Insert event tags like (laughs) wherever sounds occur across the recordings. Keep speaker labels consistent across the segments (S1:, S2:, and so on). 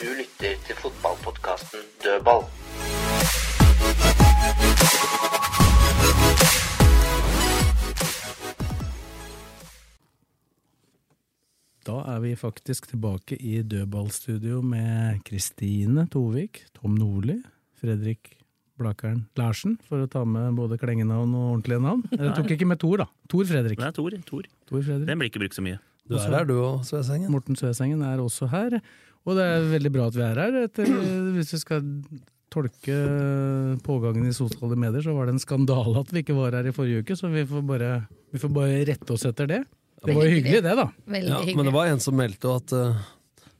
S1: Du lytter til fotballpodkasten Dødball.
S2: Da er vi faktisk tilbake i dødballstudio med Kristine Tovik, Tom Nordli, Fredrik Blakeren Larsen, for å ta med både klengenavn og ordentlige navn. Jeg tok ikke med Tor, da. Tor Fredrik.
S3: Det er Tor. Tor.
S2: Tor Fredrik.
S3: Den blir ikke brukt så mye.
S4: Du er her, du òg, Svesengen.
S2: Morten Søsengen er også her. Og det er veldig bra at vi er her. Etter, eh, hvis vi skal tolke pågangen i sosiale medier, så var det en skandale at vi ikke var her i forrige uke, så vi får bare, vi får bare rette oss etter det. Det var jo hyggelig, det, da.
S5: Veldig
S4: Ja,
S5: hyggelig.
S4: men det var en som meldte jo at eh,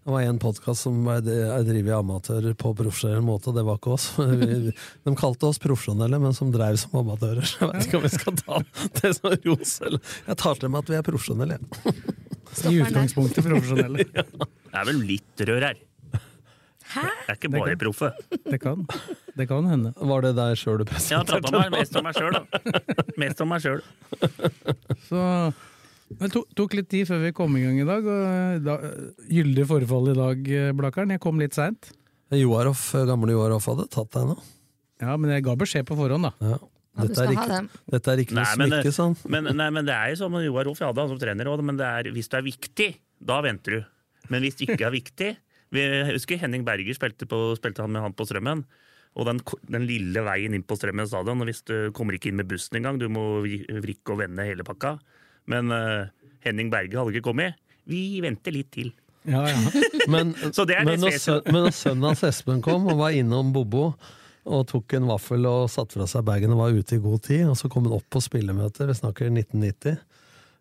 S4: det var en podkast som er er drevet av amatører på profesjonell måte, og det var ikke oss. (laughs) Vi- De kalte oss profesjonelle, men som dreiv som amatører. (laughs) Jeg vet ikke om vi skal ta det som ros, eller Jeg tar til meg at vi er profesjonelle. jeg.
S2: I
S5: Stopper den der.
S2: utgangspunktet profesjonelle.
S3: Det er vel litt rør her.
S5: Hæ?
S3: Det er ikke bare proffe.
S2: Det kan, det kan hende.
S4: Var det deg sjøl du
S3: Jeg har prata
S4: presenterte?
S3: meg mest om meg sjøl, da. Mest om meg sjøl.
S2: Så det tok, tok litt tid før vi kom i gang i dag. Og eh, da, gyldig forfall i dag, eh, Blakkaren. Jeg kom litt seint.
S4: Joaroff, eh, gamle Joaroff hadde tatt deg nå.
S2: Ja, men jeg ga beskjed på forhånd, da.
S4: Ja.
S5: Ja, du
S4: Dette er
S5: skal ha
S4: ikke,
S5: dem.
S4: dette er ikke noe
S3: Nei, men-
S4: smykke, sånn. sa han.
S3: Men, nei, men det er jo som Joar Rolf jeg hadde han som trener også, men det er, hvis det er viktig, da venter du. Men hvis det ikke er viktig vi, Jeg husker Henning Berger spilte, på, spilte han med han på Strømmen. Og den, ko- den lille veien inn på Strømmen stadion. og Hvis du kommer ikke inn med bussen engang, du må vri- vrikke og vende hele pakka. Men eh, Henning Berger hadde ikke kommet. Vi venter litt til.
S2: Ja, ja.
S4: Men,
S3: Så det er
S4: men,
S3: det
S4: når, sø,
S3: spesielle.
S4: men når sønnen hans Espen kom og var innom Bobo og tok en vaffel og satte fra seg bagen og var ute i god tid, og så kom han opp på spillemøter, vi snakker 1990.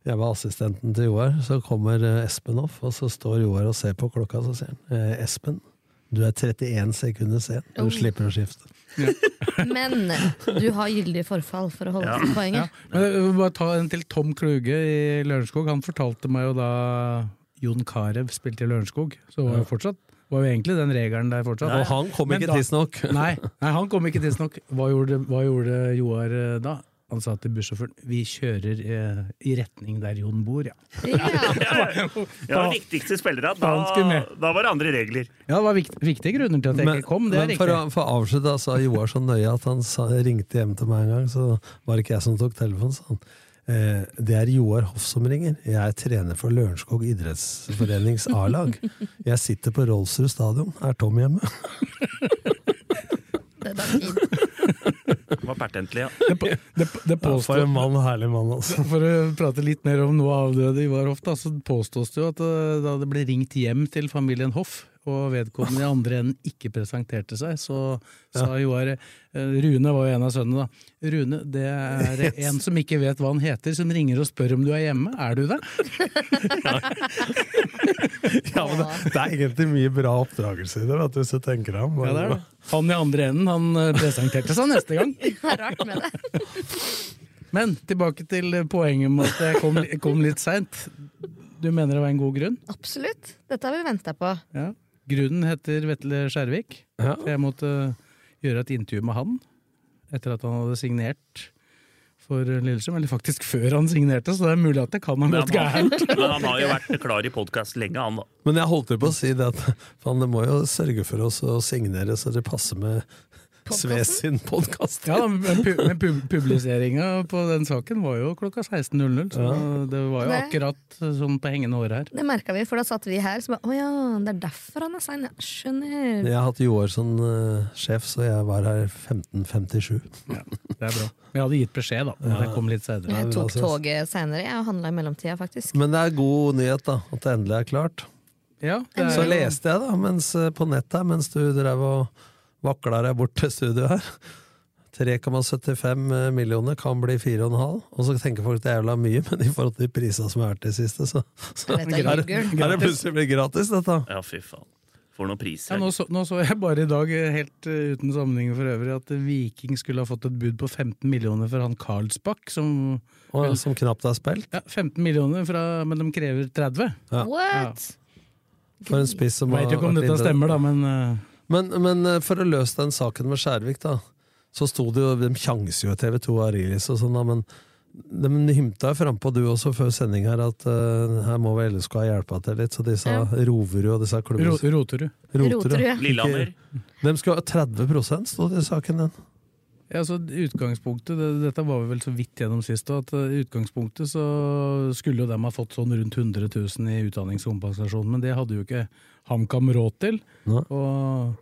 S4: Jeg var assistenten til Joar, så kommer eh, Espen opp, og så står Joar og ser på klokka, så sier han eh, Espen, du er 31 sekunder sen, du
S5: Oh.
S4: slipper å skifte.
S5: Men du har gyldig forfall for å holde
S3: Ja.
S5: til poenget.
S2: Men jeg vil bare ta en til Tom Kluge i Lørenskog. Han fortalte meg jo da Jon Carew spilte i Lørenskog, så var jo fortsatt var jo egentlig den regelen der fortsatt.
S4: Og han kom
S2: Men
S4: ikke
S2: da-
S4: tidsnok.
S2: (laughs) Nei, nei, han kom ikke tidsnok. Hva gjorde, hva gjorde Joar eh, da? Han sa til bussjåføren vi kjører eh, i retning der Jon bor, ja.
S5: Ja.
S3: Ja, de viktigste spillerne,
S2: Faen skulle
S3: da,
S2: med.
S3: da var det andre regler.
S2: Ja, Det var vikt, viktige grunner til at jeg ikke kom. det er
S4: men
S2: riktig.
S4: for å, for å avslutte, da, sa Joar så nøye at han sa, ringte hjem til meg en gang, så var det ikke jeg som tok telefonen, sa han. Eh, det er Joar Hoff som ringer. Jeg er trener for Lørenskog idrettsforenings A-lag. Jeg sitter på Rolfsrud stadion. Er Tom (laughs) hjemme?
S5: Det er fint.
S3: Det var pertentlig, ja.
S2: Det, på- det,
S4: (laughs)
S2: det påstår,
S4: For en mann, herlig mann, altså.
S2: For å prate litt mer om noe avdøde Ivar Hoff, da, så påstås det jo at eh, da det ble ringt hjem til familien Hoff, og vedkommende i andre enden ikke presenterte seg, så sa Joar eh, Rune var jo en av sønnene, da. Rune, det
S4: (laughs)
S2: er en som ikke vet hva han heter, som ringer og spør om du er hjemme. Er du det?
S4: (laughs) Ja, men det, (laughs) det er egentlig mye bra oppdragelse i det, vet du, hvis du tenker deg om.
S2: Han i andre enden, han eh, presenterte seg neste gang.
S5: Det er rart med det.
S2: Men tilbake til eh, poenget med at jeg kom, jeg kom litt seint. Du mener det var en god grunn?
S5: Absolutt. Dette har vi venta på.
S2: Ja. Grunnen heter Vetle Skjervik.
S4: Ja.
S2: Så jeg måtte gjøre et intervju med han etter at han hadde signert for Lillestrøm. Eller faktisk før han signerte, så det er mulig at det kan ha gått
S3: han,
S2: gærent.
S3: men han har jo vært klar i podkast lenge, han da.
S4: Men jeg holdt jo på å si det at faen, det må jo sørge for oss å signere så det passer med Sve sin podkast.
S2: Ja, men pu men pu publiseringa på den saken var jo klokka 16.00, så det var jo
S5: Nei.
S2: akkurat sånn på hengende hår her.
S5: Det merka vi, for da satt vi her. Så bare, Å ja, det er derfor han er sein. Ja, skjønner.
S4: Jeg har hatt Joar som eh, sjef, så jeg var her 1557.
S2: Det er bra. Men jeg hadde gitt beskjed, da. Men det kom litt senere.
S5: Jeg
S4: men
S5: tok
S4: altså-
S5: toget seinere og handla i mellomtida, faktisk.
S4: Men det er god nyhet, da, at det endelig er klart.
S2: Ja, det
S4: Så
S2: er,
S4: leste jeg da, mens, eh, på nettet her, mens du drev og vakla deg bort til studio her. 3,75 eh, millioner kan bli 4,5. Og så tenker folk det er jævla mye, (laughs) men i forhold til de prisene som har vært det siste, så, så
S5: Dette er
S4: er det
S5: hyggelig.
S4: er det plutselig blitt gratis, dette.
S3: Ja, fy faen. For noen
S2: Ja,
S3: priser.
S2: nå, så, nå så jeg bare i dag, eh, helt eh, uten sammenheng for øvrig, at Viking skulle ha fått et bud på 15 millioner for han Karlsbakk, som
S4: Og, som knapt er spilt.
S2: Ja, 15 millioner, fra, men de krever 30.
S4: Ja.
S5: What?
S4: For en spiss som
S2: Jeg vet
S4: har
S2: jo ikke om
S4: vært
S2: dette
S4: inne-
S2: stemmer, da, men eh,
S4: Men, men eh, for å løse den saken med Skjærvik, da, så sto det jo De sjanser jo TV 2 og Arilis og sånn, da, men de hymta jo frampå du også før sending her at eh, her må vel LSK ha hjelpa til litt, så de sa
S5: Ja.
S4: Roverud og disse klubbene
S2: ro, Roterud.
S5: Roterud.
S3: Lillehammer.
S4: De skulle ha 30 sto det i saken den.
S2: Ja, altså, utgangspunktet, det, Dette var vi vel så vidt gjennom sist. da, at eh, utgangspunktet så skulle jo dem ha fått sånn rundt 100 000 i utdanningskompensasjon, men det hadde jo ikke HamKam råd til.
S4: Nei.
S2: Og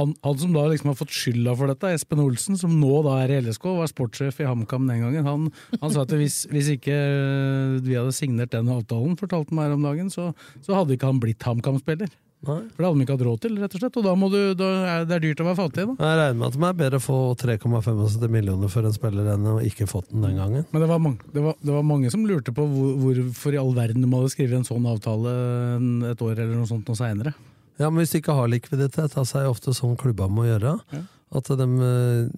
S2: han, han som da liksom har fått skylda for dette, Espen Olsen, som nå da er i LSK, var sportssjef i HamKam den gangen, han, han sa at hvis, hvis ikke eh, vi hadde signert den avtalen, fortalte han meg her om dagen, så, så hadde ikke han blitt HamKam-spiller.
S4: Nei.
S2: For det hadde de ikke hatt råd til, rett og slett. Og da, må du, da er det er dyrt å være fattig, da.
S4: Jeg regner med at det er bedre å få 3,75 millioner for en spiller enn å ikke fått den den gangen.
S2: Men det var, mange, det, var, det var mange som lurte på hvor, hvorfor i all verden de hadde skrevet en sånn avtale en- et år eller noe sånt noe seinere.
S4: Ja, men hvis de ikke har likviditet, altså er det ofte sånn klubba må gjøre, at de eh,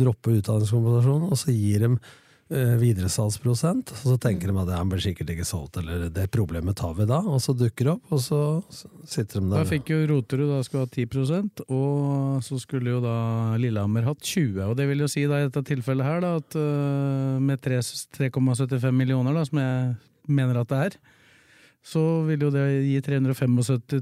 S4: dropper utdanningskompensasjon, og så gir de eh, videresalgsprosent, og så tenker de at ja, han blir sikkert ikke solgt, eller det problemet tar vi da, og så dukker det opp, og så s- sitter de
S2: Da
S4: der.
S2: fikk jo Roterud da skulle ha 10 og så skulle jo da Lillehammer hatt 20 Og det vil jo si da i dette tilfellet her da, at øh, med tre- 3,75 millioner, da, som jeg mener at det er, så vil jo det gi 375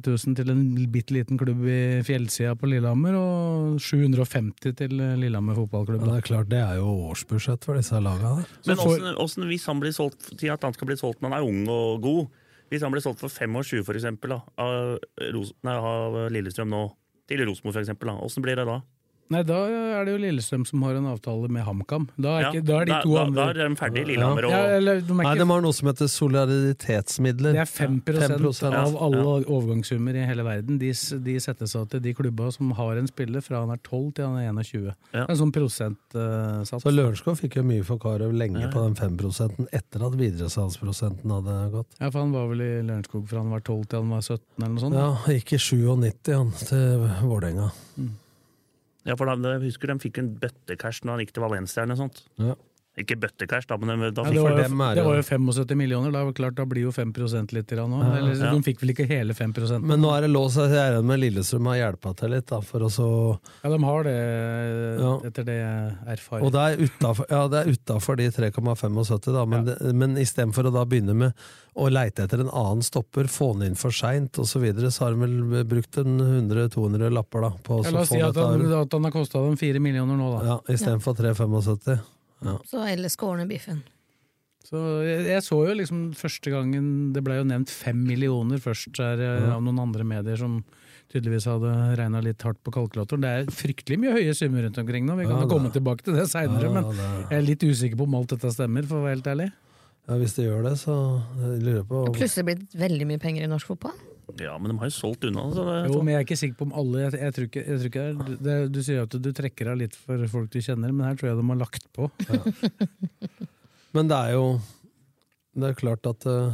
S2: 000 til en bitte liten klubb i fjellsida på Lillehammer, og 750 til Lillehammer fotballklubb.
S4: Men
S2: da.
S4: det er klart, det er jo årsbudsjett for disse laga der.
S3: Men
S2: Så får-
S3: hvordan, hvordan, hvis han blir solgt til at han skal bli solgt når han er ung og god Hvis han blir solgt for 25 for eksempel, da, av, Ros nei, av Lillestrøm nå, til Rosenborg for eksempel, da, hvordan blir det da?
S2: Nei, da er det jo Lillestrøm som har en avtale med HamKam. Da er,
S3: Ja,
S2: ikke, da er de to
S3: da,
S2: andre
S3: da, er de ferdige, Lillehammer og
S2: ja, eller, de er
S4: Nei,
S2: ikke,
S4: de har noe som heter solidaritetsmidler.
S2: Det er 5,
S4: 5%,
S2: av
S3: ja.
S2: alle overgangssummer i hele verden. De, s- de settes av til de klubba som har en spiller fra han er 12 til han er 21.
S3: Ja.
S2: En sånn prosentsats.
S4: Så Lørenskog fikk jo mye for Karev lenge på den 5 etter at videresalgsprosenten hadde gått.
S2: ja, for han var vel i Lørenskog fra han var 12 til han var 17, eller noe sånt.
S4: Ja, gikk i 97 han til Vålerenga.
S3: Ja, for da, jeg husker de fikk en bøttekæsj når han gikk til Valencia eller noe sånt.
S4: Ja.
S3: Ikke bøttekæsj, da, men de- da
S2: Ja,
S3: fikk
S2: det, var
S4: for
S2: jo,
S4: dem er
S2: det
S4: det-
S2: var jo 75 millioner, da, er det klart, da blir jo 5 litt grann òg. Eller
S3: Ja.
S2: De fikk vel ikke hele 5
S4: Men nå er det låst, så jeg regner med Lillestrøm har hjelpa til litt. Da, for å så,
S2: Ja, de har det,
S4: Ja.
S2: etter det jeg erfarer.
S4: og det er utafor ja, det er utenfor de 3,75, da, men, det- men istedenfor å da begynne med å leite etter en annen stopper, få den inn for seint osv., så, videre, så har de vel brukt en 100-200 lapper da, på å
S2: Ja,
S4: så
S2: La oss
S4: få
S2: si at
S4: dette
S2: han,
S4: her.
S2: at han har kosta dem fire millioner nå, da.
S4: Ja, Istedenfor 3,75.
S5: Så LSK ordner biffen.
S2: Så jeg, jeg så jo liksom første gangen Det ble jo nevnt fem millioner først her, eh, av noen andre medier som tydeligvis hadde regna litt hardt på kalkulatoren. Det er fryktelig mye høye summer rundt omkring nå, vi kan
S4: Ja,
S2: jo
S4: det
S2: komme tilbake til det seinere,
S4: Ja,
S2: men
S4: det er-
S2: jeg er litt usikker på om alt dette stemmer, for å være helt ærlig.
S4: Ja, hvis de gjør det, så jeg lurer jeg på
S5: Plutselig blir det veldig mye penger i norsk fotball.
S3: Ja, men de har jo solgt unna. Så det,
S2: Jo, men jeg er ikke sikker på om alle Jeg, jeg tror ikke, jeg tror ikke det, er- det, Du sier at du trekker av litt for folk du kjenner, men her tror jeg de har lagt på.
S4: Men det er jo Det er klart at eh,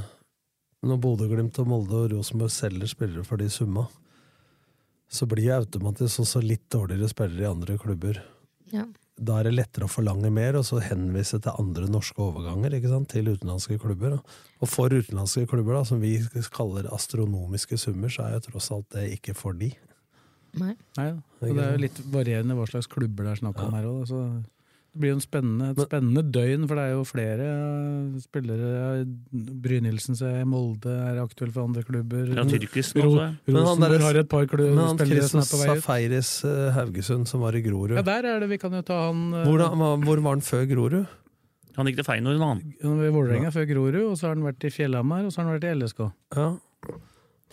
S4: når Bodø-Glimt og Molde og Rosenborg selger spillere for de summa, så blir jo automatisk også litt dårligere spillere i andre klubber.
S5: Ja.
S4: Da er det lettere å forlange mer, og så henvise til andre norske overganger ikke sant? til utenlandske klubber. Da. Og for utenlandske klubber, da, som vi kaller astronomiske summer, så er jo tross alt det ikke for de.
S5: Nei.
S2: Nei, og det er jo litt varierende hva slags klubber det er snakk om her òg. Så det blir jo en spennende, et spennende døgn, for det er jo flere eh, spillere. Brynildsen ser jeg, Molde er aktuell for andre klubber.
S3: ja, tyrkisk
S2: Mm. Ro-
S3: nå, så-
S4: Men han
S2: Rosenborg
S4: der-
S2: har et par klubber,
S4: Men han
S2: eh, spillere som
S4: Christian
S2: er på vei ut.
S4: Safaris eh, Haugesund, som var i Grorud
S2: Ja, der er det. Vi kan jo ta han eh,
S4: Hvor, da, hvor var han før Grorud?
S3: Han gikk til Feinor, han.
S2: han var i Vålerenga før Grorud, og så har han vært i Fjellhamar, og så har han vært i LSK.
S4: Ja.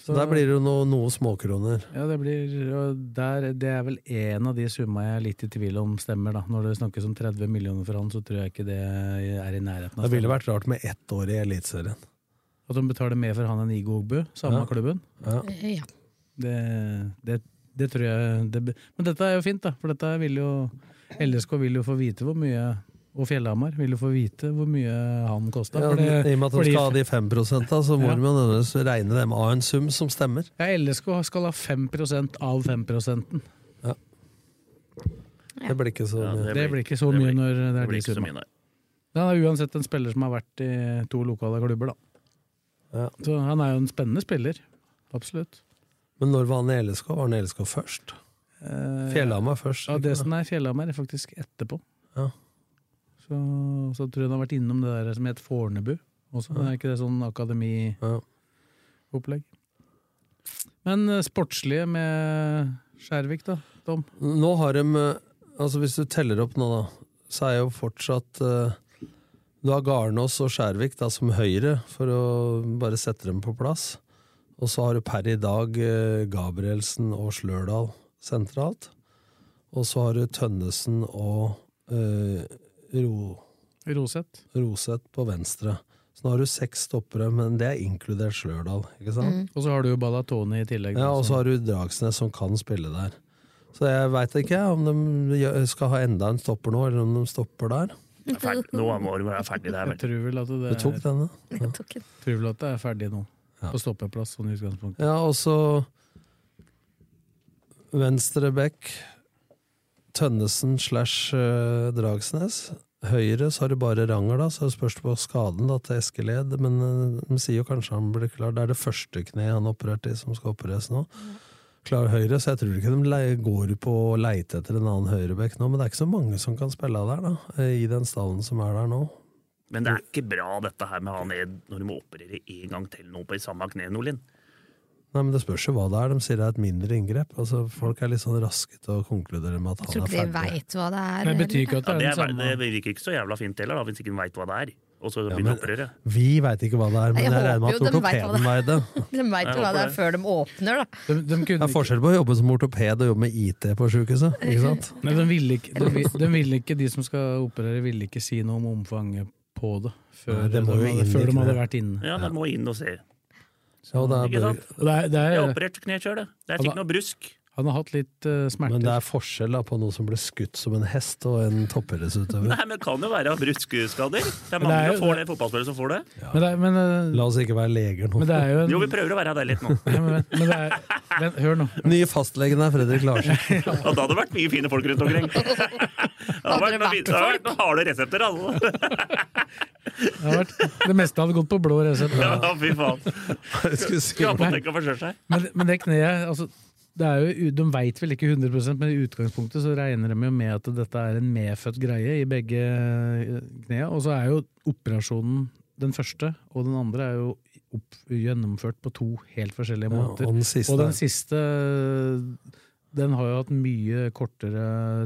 S4: Så der blir det jo noe, noe småkroner.
S2: Ja, det, blir, og der, det er vel en av de summa jeg er litt i tvil om stemmer, da. Når det snakkes om 30 millioner for han, så tror jeg ikke det er i nærheten av
S4: Det ville vært rart med ett år i Eliteserien.
S2: At de betaler mer for han enn Igo Ogbu, samme
S4: Ja.
S2: klubben.
S5: Eh, Ja.
S2: Det, det, det tror jeg det, be- Men dette er jo fint, da. For dette vil jo LSK vil jo få vite hvor mye og Fjellhamar vil jo få vite hvor mye han kosta.
S4: Ja, I og med at de skal ha de 5 så må
S2: Ja.
S4: de jo nødvendigvis regne dem av en sum som stemmer.
S2: ja, LSK skal ha 5 av 5 Det
S4: Det blir ikke så
S3: Ja,
S4: mye.
S2: blir ikke så mye når det
S3: det
S2: er
S3: blir
S2: de
S3: ikke så
S2: summene.
S3: mye, nei.
S2: Men Han er uansett en spiller som har vært i to lokale klubber, da.
S4: Ja.
S2: Så han er jo en spennende spiller. Absolutt.
S4: Men når var han i LSK? Var han i LSK først?
S2: Eh,
S4: Fjellhamar først?
S2: Ja,
S4: ikke
S2: det
S4: sant?
S2: som er Fjellhamar, er faktisk etterpå.
S4: Ja.
S2: Så, så tror jeg han har vært innom det der som het Fornebu også. Det er ikke det sånn akademiopplegg?
S4: Ja.
S2: Men eh, sportslige med Skjærvik, da, Tom?
S4: Nå har de eh, Altså Hvis du teller opp nå, da, så er jo fortsatt eh, Du har Garnås og Skjærvik da som høyre, for å bare sette dem på plass. Og så har du per i dag eh, Gabrielsen og Slørdal sentralt. Og så har du Tønnesen og eh, Ro,
S2: Roseth?
S4: Roseth på venstre. Så nå har du seks stoppere, men det er inkludert Slørdal, ikke sant?
S2: Og så har du jo Balatoni i tillegg.
S4: Ja, og
S2: også.
S4: så har du Dragsnes som kan spille der. Så jeg veit ikke om de gjø- skal ha enda en stopper nå, eller om de stopper der.
S3: Det er ferdig. Nå må du være ferdig der,
S2: jeg (laughs)
S3: vel.
S2: tror vel at det,
S4: Du tok denne.
S5: Jeg tok en.
S2: tror vel at det er ferdig nå. På stoppeplass, sånn i utgangspunktet.
S4: Ja, og så venstre back Tønnesen slash eh, Dragsnes. Høyre så har du bare Ranger, da, så spørs det på skaden da, til Eskeled. Men eh, de sier jo kanskje han blir klar. Det er det første kneet han opererte i, som skal opereres nå. Klar høyre, så jeg tror ikke de le- går på å leite etter en annen høyrebekk nå. Men det er ikke så mange som kan spille der, da, eh, i den stallen som er der nå.
S3: Men det er ikke bra dette her med han ned når du må operere en gang til nå på i samme kne, Nordlien.
S4: Nei, men Det spørs jo hva det er. De sier det er et mindre inngrep. Altså, Folk er litt sånn raske til å konkludere med at han
S5: Jeg tror
S4: er
S5: ikke de
S4: ferdig.
S5: veit hva det er.
S2: Men det betyr ikke at
S3: Ja,
S2: det
S3: det,
S2: er den
S3: er,
S2: samme
S3: det virker ikke så jævla fint heller, da, hvis ikke du veit hva det er. Og så
S4: Ja,
S3: begynner
S4: men-
S3: å operere.
S4: Vi veit ikke hva det er, men
S5: Jeg
S4: jeg regner med at
S5: håper jo de vet hva
S4: ortopeden veit det.
S5: De veit
S3: Jeg
S5: jo hva det
S3: håper
S5: er før de åpner, da.
S2: De, de
S4: Det
S2: kunne
S4: er forskjell på å jobbe som ortoped og jobbe med IT på sjukehuset. Ikke sant?
S2: Men den ville ikke, den vil, den ville ikke, de som skal operere, ville ikke si noe om omfanget på det før,
S4: Nei, det må
S2: de,
S4: jo
S2: hadde,
S4: inn
S2: før
S4: i
S2: de hadde
S4: kneet.
S2: vært inne.
S3: Ja, da må jeg inn og se.
S4: Ja, og det er
S3: Ikke
S4: bare-
S3: sant?
S2: Og det er, det
S3: Jeg har
S2: er,
S3: operert knekjøl, jeg. Det er ikke noe brusk.
S2: han har hatt litt eh, smerter.
S4: men det er forskjell da, på noe som ble skutt som en hest og en toppidrettsutøver.
S3: Nei, men det kan jo være bruskskader. Det er
S2: Men det
S3: mange
S2: er jo-
S3: som får det, fotballspillere som får det.
S2: men, det er, men, eh,
S4: La oss ikke være leger nå.
S2: men det er jo en
S3: Jo, vi prøver å være deg litt nå.
S2: (laughs) ja, men, vent, men det er, vent, Hør nå.
S4: Nye fastlegen er Fredrik Larsen.
S3: Ja, da hadde det vært mye fine folk rundt omkring. Det hadde vært noen, fine- det hadde vært noen harde resepter, alle.
S2: Det, har vært, det meste hadde gått på blå resept.
S3: Ja, fy faen.
S4: Jeg skulle si-
S3: Skulle apoteket forsørt seg.
S2: Men, men det kneet altså, det er jo, u- De veit vel ikke 100 men i utgangspunktet så regner de jo med at dette er en medfødt greie i begge eh, knea. Og så er jo operasjonen den første, og den andre er jo opp, gjennomført på to helt forskjellige
S4: Ja, og
S2: måter.
S4: den siste
S2: og den siste den har jo hatt mye kortere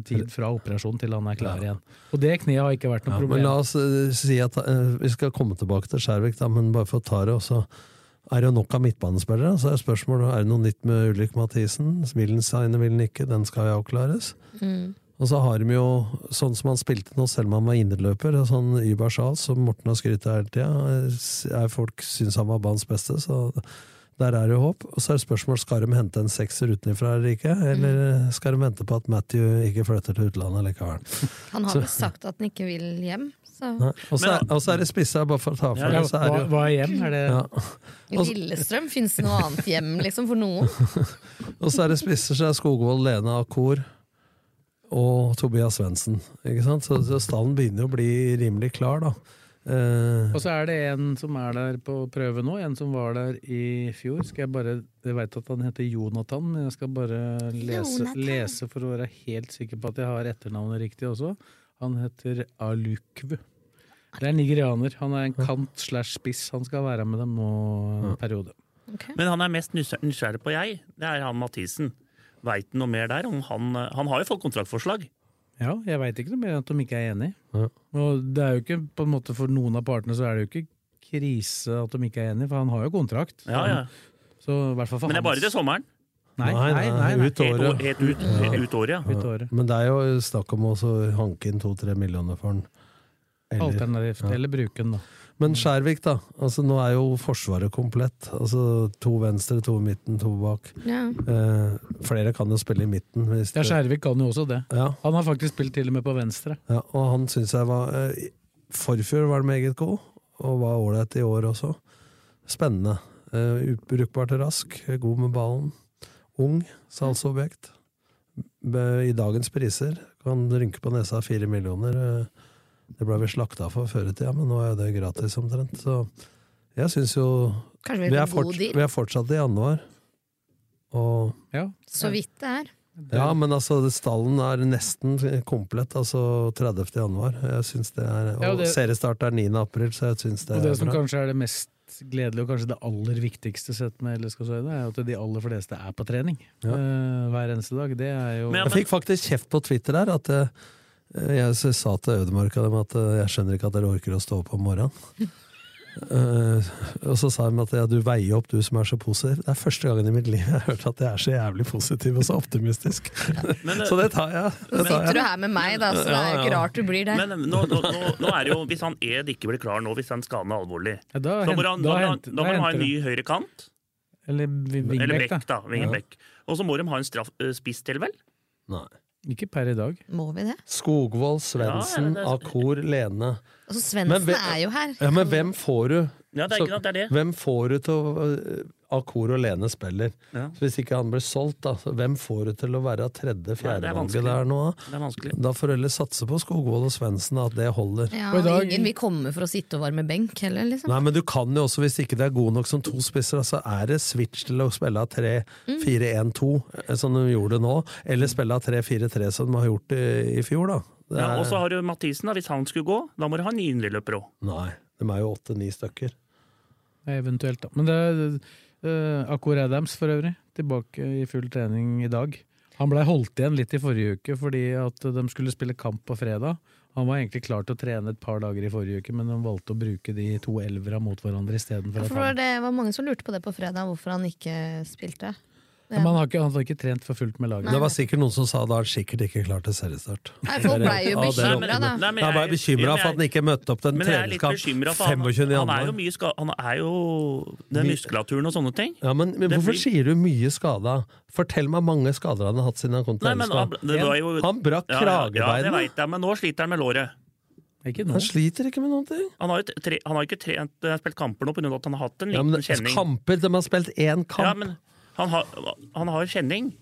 S2: tid fra operasjon til han er klar igjen. Og det kneet har ikke vært noe
S4: Ja, men
S2: problem.
S4: la oss eh, si at eh, vi skal komme tilbake til Skjærvik, da, men bare for å ta det også. Er det jo nok av midtbanespillere? Så er spørsmålet er det noe nytt med Ulrik Mathisen. Vil han signe, vil han ikke? Den skal jo avklares. Og så har de jo, sånn som han spilte nå, selv om han var indreløper, og sånn Ybar Charles, som Morten har skrytt av hele tida, folk syns han var banens beste, så der er det jo håp. Og så er det spørsmål skal de hente en sekser utenfra eller ikke, eller skal de vente på at Matthew ikke flytter til utlandet likevel.
S5: Han har vel sagt at han ikke vil hjem, så
S4: Nei. Og så er, og så er det spissa, bare for å ta for
S2: Ja,
S4: det, så er
S2: hva,
S4: det jo
S2: hva er hjem? Er det
S4: ja.
S5: Lillestrøm fins det noe annet hjem, liksom, for noen.
S4: Og så er det spisser, så er Skogvold, Lena Akor og Tobias Svendsen. Ikke sant? Så, så stallen begynner jo å bli rimelig klar, da. Eh,
S2: Og så er det en som er der på prøve nå, en som var der i fjor. Skal jeg bare, Jeg veit at han heter Jonathan, men jeg skal bare lese,
S5: Jonathan.
S2: lese for å være helt sikker på at jeg har etternavnet riktig også. Han heter Alukvu. Det er nigerianer. Han er en kant slash spiss. Han skal være med dem nå en periode.
S3: Men han er mest nysgjer- nysgjerrig på jeg. Det er han Mathisen. Veit han noe mer der? Om han, eh, han har jo fått kontraktforslag.
S2: Ja, jeg veit ikke noe mer enn at de ikke er enige.
S4: Ja.
S2: Og det er jo ikke, på en måte for noen av partene så er det jo ikke krise at de ikke er enige, for han har jo kontrakt.
S3: Ja, ja.
S2: Så i hvert fall for
S3: Men det er bare
S2: hans-
S3: til sommeren.
S2: Nei, nei, nei. nei,
S4: ut
S3: Helt, å-
S4: året.
S3: helt ut, helt ut året, ja.
S2: Ut året.
S4: Men det er jo snakk om å så hanke inn to-tre millioner for den. Eller,
S2: Alternativt. Eller bruke den, da.
S4: Men Skjærvik, da. altså Nå er jo Forsvaret komplett. altså To venstre, to i midten, to bak.
S5: Ja.
S4: Eh, flere kan jo spille i midten. Hvis
S2: Ja,
S4: det-
S2: Skjærvik kan jo også det.
S4: Ja,
S2: Han har faktisk spilt til og med på venstre.
S4: ja, og han syns jeg var eh, Forfjor var meget god, og var ålreit i år også. Spennende. Eh, Brukbart rask, god med ballen. Ung salgsobjekt. Be- I dagens priser kan rynke på nesa fire millioner. eh, Det ble vi slakta for før i tida, men nå er det gratis omtrent. Så jeg syns jo
S5: Kanskje
S4: vi
S5: vi
S4: er,
S5: får god
S4: fort, vi
S5: deal.
S4: er fortsatt i januar. Og,
S2: Ja.
S5: Så vidt det er.
S4: ja, men altså, det- stallen er nesten komplett, altså 30. januar. Jeg synes det er, og
S2: Ja, det-
S4: seriestart er 9. april, så jeg syns det,
S2: Og det
S4: er
S2: som
S4: bra.
S2: kanskje er det mest gledelige, og kanskje det aller viktigste sett med LSK Søyde, er jo at de aller fleste er på trening
S4: Ja.
S2: Eh, hver eneste dag. Det er jo
S3: Men-
S4: Jeg fikk faktisk kjeft på Twitter der, at eh, jeg s- sa til Ødemark og dem at eh, jeg skjønner ikke at dere orker å stå opp om morgenen. Eh, og så sa de at ja, du veier opp, du som er så positiv. Det er første gangen i mitt liv jeg har hørt at jeg er så jævlig positiv og så optimistisk.
S3: Men, eh,
S4: så det tar jeg.
S5: Nå
S4: Det tar
S5: sitter du
S4: jeg.
S5: her med meg, da, så det er jo ikke
S4: Ja, ja.
S5: rart du blir det.
S3: Men eh, nå, nå, nå, nå er det jo, hvis han Ed ikke blir klar nå, hvis den skaden er alvorlig
S2: ja, Da,
S3: Da
S2: hent,
S3: må han,
S2: da,
S3: da, må han-
S2: hent,
S3: da må han ha en ny
S2: henter
S3: høyre kant,
S2: du- Eller vi-
S3: eller
S2: Vingbekk,
S3: bekk,
S2: da.
S3: da. Vingebekk. Og så må de ha en straff, eh, spiss til, vel?
S4: Nei.
S2: Ikke per i dag.
S5: Må vi det?
S4: Skogvold,
S3: Ja, ja,
S4: Svendsen,
S3: det er-
S4: Akor, Lene.
S5: Altså,
S4: Men
S5: Svendsen
S4: vi-
S5: er jo her.
S4: Ja, men hvem får du?
S3: Ja, det er
S4: Så-
S3: ikke noe, det er det.
S4: Hvem får du til å Akor og Lene spiller?
S3: Ja.
S4: Så Hvis ikke han blir solgt, da. så Hvem får du til å være
S3: Nei, det er
S4: tredje-fjerdevalget
S3: vanskelig.
S4: der nå? da?
S3: Det er vanskelig.
S4: Da får heller satse på Skogvold og Svendsen, at det holder.
S5: Ja,
S2: Og i dag-
S5: Ingen vil komme for å sitte og varme benk heller, liksom.
S4: Nei, men du kan jo også, hvis ikke det er god nok som to spisser, så er det switch til å spille av 3-4-1-2, eh, som de gjorde nå, eller spille av 3-4-3, som de har gjort i, i fjor, da. Det
S3: Ja,
S4: er,
S3: og så har du Mathisen, da. Hvis han skulle gå, da må du ha en ny indreløper òg.
S4: Nei, de er jo åtte-ni stykker.
S2: Eventuelt, da. Men det er eh, Akor Adams for øvrig, tilbake i full trening i dag. Han blei holdt igjen litt i forrige uke fordi at de skulle spille kamp på fredag. Han var egentlig klar til å trene et par dager i forrige uke, men de valgte å bruke de to elvera mot hverandre istedenfor at
S5: For det
S2: han
S5: var- det var mange som lurte på det på fredag, hvorfor han ikke spilte.
S2: Ja, Men han har ikke, han har ikke trent for fullt med laget.
S4: Det var sikkert noen som sa da er sikkert ikke klar til seriestart.
S5: Nei, folk ble jo
S4: Ja, det er
S5: bekymra, da.
S3: Nei, men
S4: Jeg er bare bekymra for at han ikke møtte opp til en
S3: Men jeg er litt
S4: treningskamp
S3: bekymra, for han,
S4: 25.
S3: han er jo
S4: januar.
S3: mye ska, Han er jo Den muskulaturen og sånne ting.
S4: Ja, men, men
S3: Det
S4: hvorfor
S3: blir-
S4: sier du mye skada? Fortell meg mange skader han har hatt siden han kom til
S3: Nei, men han,
S4: LSK.
S3: det var jo
S4: Han brakk
S3: Ja, ja, Ja, det
S4: kragebeinet.
S3: vet jeg, men nå sliter han med låret.
S2: Ikke nå.
S4: Han sliter ikke med noen ting.
S3: Han har jo t- tre, han har ikke trent, eh, spilt kamper nå pga. at han har hatt en
S4: Ja,
S3: liten
S4: men
S3: kjenning.
S4: kamper, De har spilt én
S3: Ja,
S4: kamp.
S3: men han har, han har kjenning.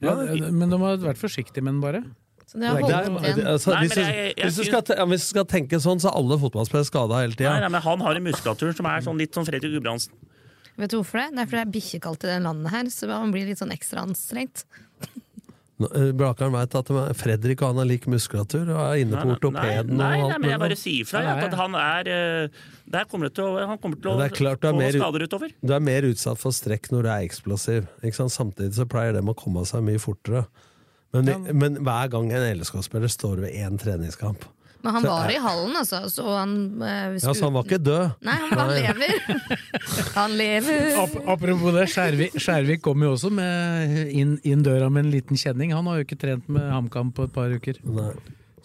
S2: Ja, men de har vært forsiktige med den, bare.
S5: Så det har
S4: Det er,
S5: holdt igjen.
S4: altså,
S3: Nei, men
S4: hvis, du,
S3: jeg- jeg
S4: hvis, du
S3: synes-
S4: skal, te- ja, hvis du skal tenke sånn, så er alle fotballspillere skada hele
S3: Nei,
S4: tida.
S3: nei, men han har en muskulatur som er sånn litt som Fredrik Gudbrandsen.
S5: Vet du hvorfor det? Det er fordi det er bikkjekaldt i det landet her, så man blir litt sånn ekstra anstrengt.
S4: Blakeren veit eh, at de er- Fredrik og han har lik muskulatur og er inne
S3: Nei,
S4: på
S3: nei, nei, nei,
S4: ortopeden. og
S3: nei,
S4: alt
S3: men jeg
S4: mulig.
S3: bare sier fra
S2: Ja,
S3: jeg,
S2: ja.
S3: at han er eh, Der kommer det til å, han kommer til å
S4: Men det er klart du er
S3: få
S4: mer-
S3: skader utover.
S4: Du er mer utsatt for strekk når du er eksplosiv. Ikke sant? Samtidig så pleier dem å komme seg mye fortere. Men, men hver gang en LSK-spiller står ved én treningskamp
S5: Men han
S4: Så
S5: var
S4: er-
S5: i hallen, altså. Så han eh,
S4: Ja, Så
S5: skulle-
S4: han var ikke død.
S5: Nei, han, han lever! (laughs) Han lever!
S2: Ap apropos det, Skjærvik, Skjærvik kom jo også med inn, inn døra med en liten kjenning. Han har jo ikke trent med HamKam på et par uker.
S4: Nei.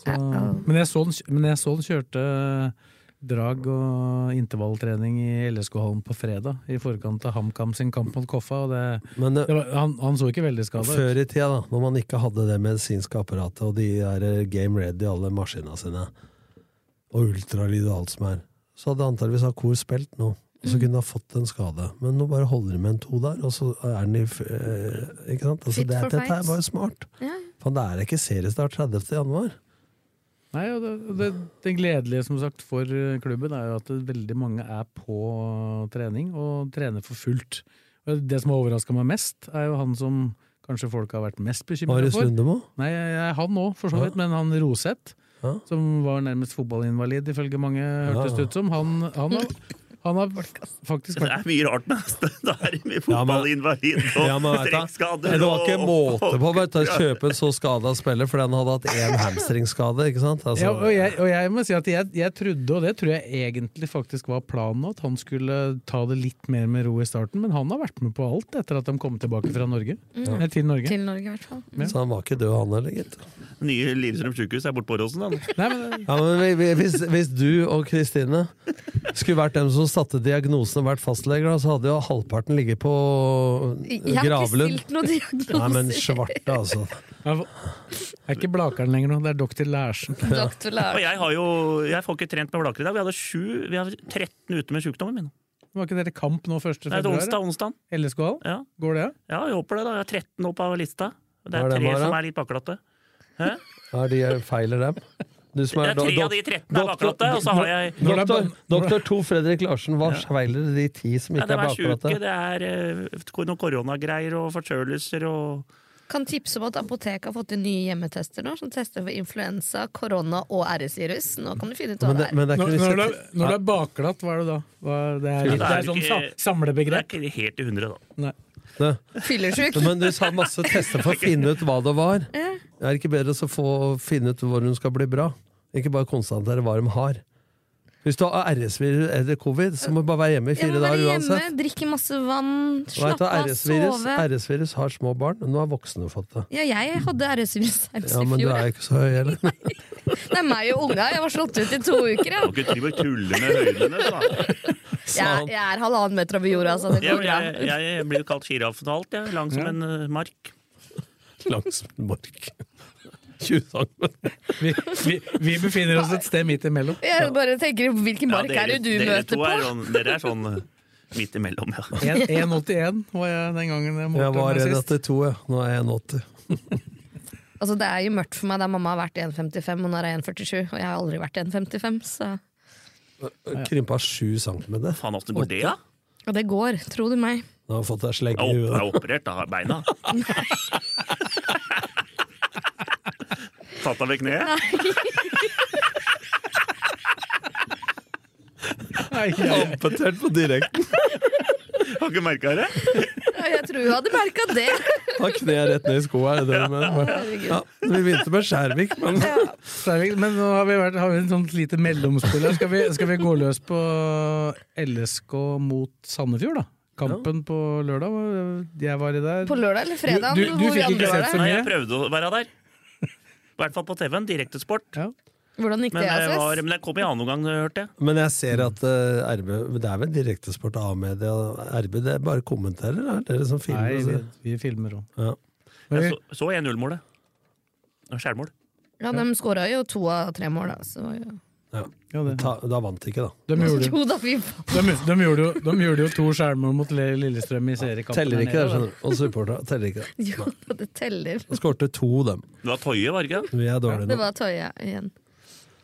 S2: Så,
S4: Mm.
S2: men, jeg så han, kj- men jeg så han kjørte eh, drag og intervalltrening i LSK-hallen på fredag, i forkant av HamKam sin kamp mot Koffa. Og det,
S4: Men eh,
S2: det var, han, han så ikke veldig skada ut.
S4: før i tida, da, når man ikke hadde det medisinske apparatet og de der eh, game ready, alle maskinene sine, og ultralyd og alt som er, så hadde antageligvis Akor spilt nå. Og så kunne han fått en skade. Men nå bare holder de med en to der, og så er han i f- eh, Ikke sant? Altså,
S5: Fit
S4: det,
S5: for
S4: dette
S5: fight.
S4: er bare smart.
S5: Ja.
S4: Faen, det er ikke seriestart 30. januar.
S2: Nei, og det, og det, det gledelige som sagt for eh, klubben er jo at det- veldig mange er på eh, trening og trener for fullt. Og det som har overraska meg mest, er jo han som kanskje folk har vært mest bekymra
S4: Marius
S2: for.
S4: Lundemo?
S2: Nei, jeg- jeg- han òg, for så vidt, men han Roseth,
S4: Ja.
S2: som var nærmest fotballinvalid ifølge mange, hørtes det ut som, han, han, har, han har faktisk
S3: Det
S2: vært
S3: (laughs) er mye rart med det. er fotballinvalid og
S4: Ja, men vet du,
S3: strekkskader.
S4: det var ikke
S3: og-
S4: måte på vet du, å
S3: (laughs) Ja.
S4: kjøpe en så skada spiller fordi han hadde hatt én hamstringskade. ikke sant? Altså,
S2: Ja, og, jeg, og jeg må si at jeg, jeg trodde, og det tror jeg egentlig faktisk var planen, at han skulle ta det litt mer med ro i starten, men han har vært med på alt etter at de kom tilbake fra Norge.
S3: Mm.
S2: Nei, til Norge.
S5: Til Norge, i hvert fall.
S4: Så han var ikke død, han heller, gitt.
S3: Nye Lillestrøm sykehus er borte på Åråsen,
S4: (laughs)
S3: da.
S2: Nei, men,
S4: Ja, men vi- vi- hvis, hvis du og Kristine skulle vært dem som satte diagnosen og vært fastleger, da, så hadde jo halvparten ligget på
S5: Jeg har ikke
S4: Gravlund.
S5: stilt noen
S4: Nei, men
S5: diagnoser.
S4: svarte, altså.
S2: det er ikke Blakeren lenger nå, det er doktor Lærsen.
S5: Doktor
S3: Og
S5: Lars.
S3: jeg, har jo, jeg får ikke trent med Blaker i dag. Vi hadde sju, vi har 13 ute med sykdommen min.
S2: Var ikke dere kamp nå 1.
S3: Nei, det er
S2: februar?
S3: onsdag, onsdag.
S2: LSK-hall?
S3: Ja.
S2: Går det?
S3: ja, jeg håper det. da. Jeg har 13 opp av lista. Det
S4: Hva
S3: er
S4: er det,
S3: tre
S4: Mara?
S3: som er litt bakglatte.
S4: Er de feiler dem? Du som
S3: Det
S4: er
S3: er tre av de 13 er bakglatte, og så har jeg
S2: Når det er
S4: Doktor,
S2: ban-
S4: doktor Tor Fredrik Larsen, hva feiler de ti som
S3: ja,
S4: ikke
S3: De
S4: er
S3: er sjuke,
S4: bakglatte?
S3: det er eh, noen koronagreier og forkjølelser og
S5: Kan tipse om at apoteket har fått inn nye hjemmetester nå, som tester for influensa, korona og RS-virus. Nå kan du finne ut hva
S4: Men
S5: det
S4: det,
S5: er.
S4: men det er
S2: Når,
S4: ikke
S2: når, det,
S4: disse-
S2: er- når det er bakglatt, hva er det da? Hva, det er, litt, det er sånn sa,
S3: Det er
S2: samlebegrep.
S3: ikke helt i hundre, da.
S2: Nei.
S4: Nei.
S5: Fyllesyk.
S4: Men du sa masse tester (laughs) for å finne ut hva det var. Er det ikke bedre å få finne ut hvor hun skal bli bra? Ikke bare konstatere hva de har. Hvis du har RS-virus eller covid, så må du bare være hjemme i
S5: Jeg
S4: fire
S5: må være
S4: dager
S5: hjemme,
S4: uansett.
S5: drikke masse vann,
S4: Og vet du,
S5: slappe av,
S4: RS-virus
S5: sove.
S4: RS-virus har små barn, men nå har voksne fått det.
S5: Ja, jeg hadde RS-virus senest
S4: Ja,
S5: i
S4: men du
S5: fjor.
S4: er ikke så høy heller.
S5: Det er meg og unga. Jeg var slått ut i to
S3: Du
S5: uker. Jeg,
S3: kan ikke drive og tulle med høydene. Da.
S5: jeg, jeg er halvannen meter over jorda, så det
S3: Jeg,
S5: går bra.
S3: jeg, jeg blir jo kalt sjiraffen og alt, jeg. Lang som en eh, mark.
S4: (laughs) Langs mark. (laughs) 20 cm.
S2: Vi, vi, vi befinner oss et sted midt imellom.
S5: Jeg bare tenker hvilken mark
S3: Ja,
S5: er det du
S3: dere
S5: møter
S3: to
S5: på?
S3: Er sånn, dere er sånn eh, midt imellom, ja.
S4: (laughs)
S2: 1,81 var jeg den gangen jeg
S4: Jeg
S2: målte
S4: var
S2: meg sist.
S4: 1,82, ja. nå er jeg 1,80.
S5: Altså, det er jo mørkt for meg der mamma har vært 1,55, og nå er jeg 1,47. Og jeg har aldri vært 1,55, så
S4: Krympa 7 cm. Nå
S3: Faen, åssen går det, da?
S5: Og det går, tro du meg.
S4: har jeg fått deg slegge i
S3: Jeg er
S4: huet.
S3: operert da,
S5: (laughs)
S3: beina. Tatt av ved kneet?
S2: Nei, jeg-
S4: Amputert på direkten.
S3: Har ikke merka det?
S5: Ja, Jeg tror hun hadde merka det.
S4: Da kneet jeg rett ned i skoa. er det det du mener? Ja, vi begynte med Skjærvik, men
S2: Steinvik, Men nå har vi, vært, har vi en sånn lite mellomspill her. Skal vi, skal vi gå løs på LSK mot Sandefjord, da? Kampen på lørdag. var- Jeg var i der.
S5: (laughs) På lørdag eller fredag?
S2: Du- du- du
S5: hvor vi
S2: fikk
S5: andre
S2: ikke
S5: var
S2: sett
S5: der.
S2: så
S3: Nei, jeg prøvde å være der. I hvert fall på TV-en. Direktesport.
S2: Ja.
S5: Hvordan gikk
S3: Men,
S5: det,
S3: jeg var-
S5: Asves?
S3: men jeg kom i annen omgang, hørte jeg.
S4: Men jeg ser at eh, RB Det er vel direktesport av media RB det er bare kommenterer, er det dere som filmer?
S2: Nei,
S4: og
S2: vi,
S4: så-
S2: vi filmer òg.
S4: Ja.
S3: Jeg så, så 1-0-målet. Skjærmål.
S5: Ja, de skåra jo to av tre mål, da. Så, ja.
S2: Ja, det.
S4: Ta, da vant de ikke, da.
S2: de, gjorde,
S5: Jo da, vi vant.
S2: de, de, gjorde jo, de gjorde jo to skjermer mot Le- Lillestrøm i seriekampen.
S4: Teller
S2: her
S4: ikke det,
S2: nede, da.
S4: skjønner du. Og supporterne teller ikke det.
S5: (laughs) Jo da, det teller.
S4: Da skårte to, dem.
S3: Det var Toje, var det ikke?
S4: Vi er dårlige
S5: Det
S4: nå.
S5: var Tøye igjen.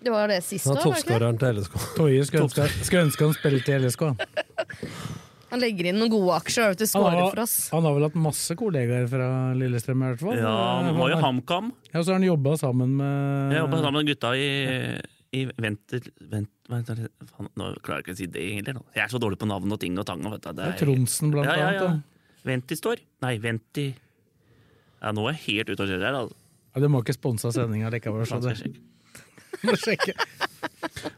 S5: Det var det sist
S4: Han
S5: år,
S4: er
S5: var det ikke? det?
S4: toppskåreren til LSK.
S2: Toje skulle ønske, skulle ønske han spilte i LSK. han.
S5: Han legger inn noen gode aksjer og vet du,
S2: Han
S5: scorer
S2: har,
S5: for oss.
S2: han har vel hatt masse kollegaer fra Lillestrøm, i hvert fall.
S3: Ja, han var jo HamKam.
S2: Ja, så har han jobba sammen med
S3: Jeg jobba
S2: Mm.
S3: sammen med gutta i, i Venter... Vent, vent, vent, faen, nå klarer jeg ikke å si det heller. nå. Jeg er så dårlig på navn og ting og tang. og Vet du, det
S2: med
S3: er-
S2: Tronsen, blant
S3: Ja, ja,
S2: annet.
S3: ja.
S2: da.
S3: Venti står. Nei, Venti Ja, nå er jeg helt ute å kjøre her. Altså.
S2: Ja, du må ikke sponse sendinga likevel. Så det. (laughs) Må sjekke.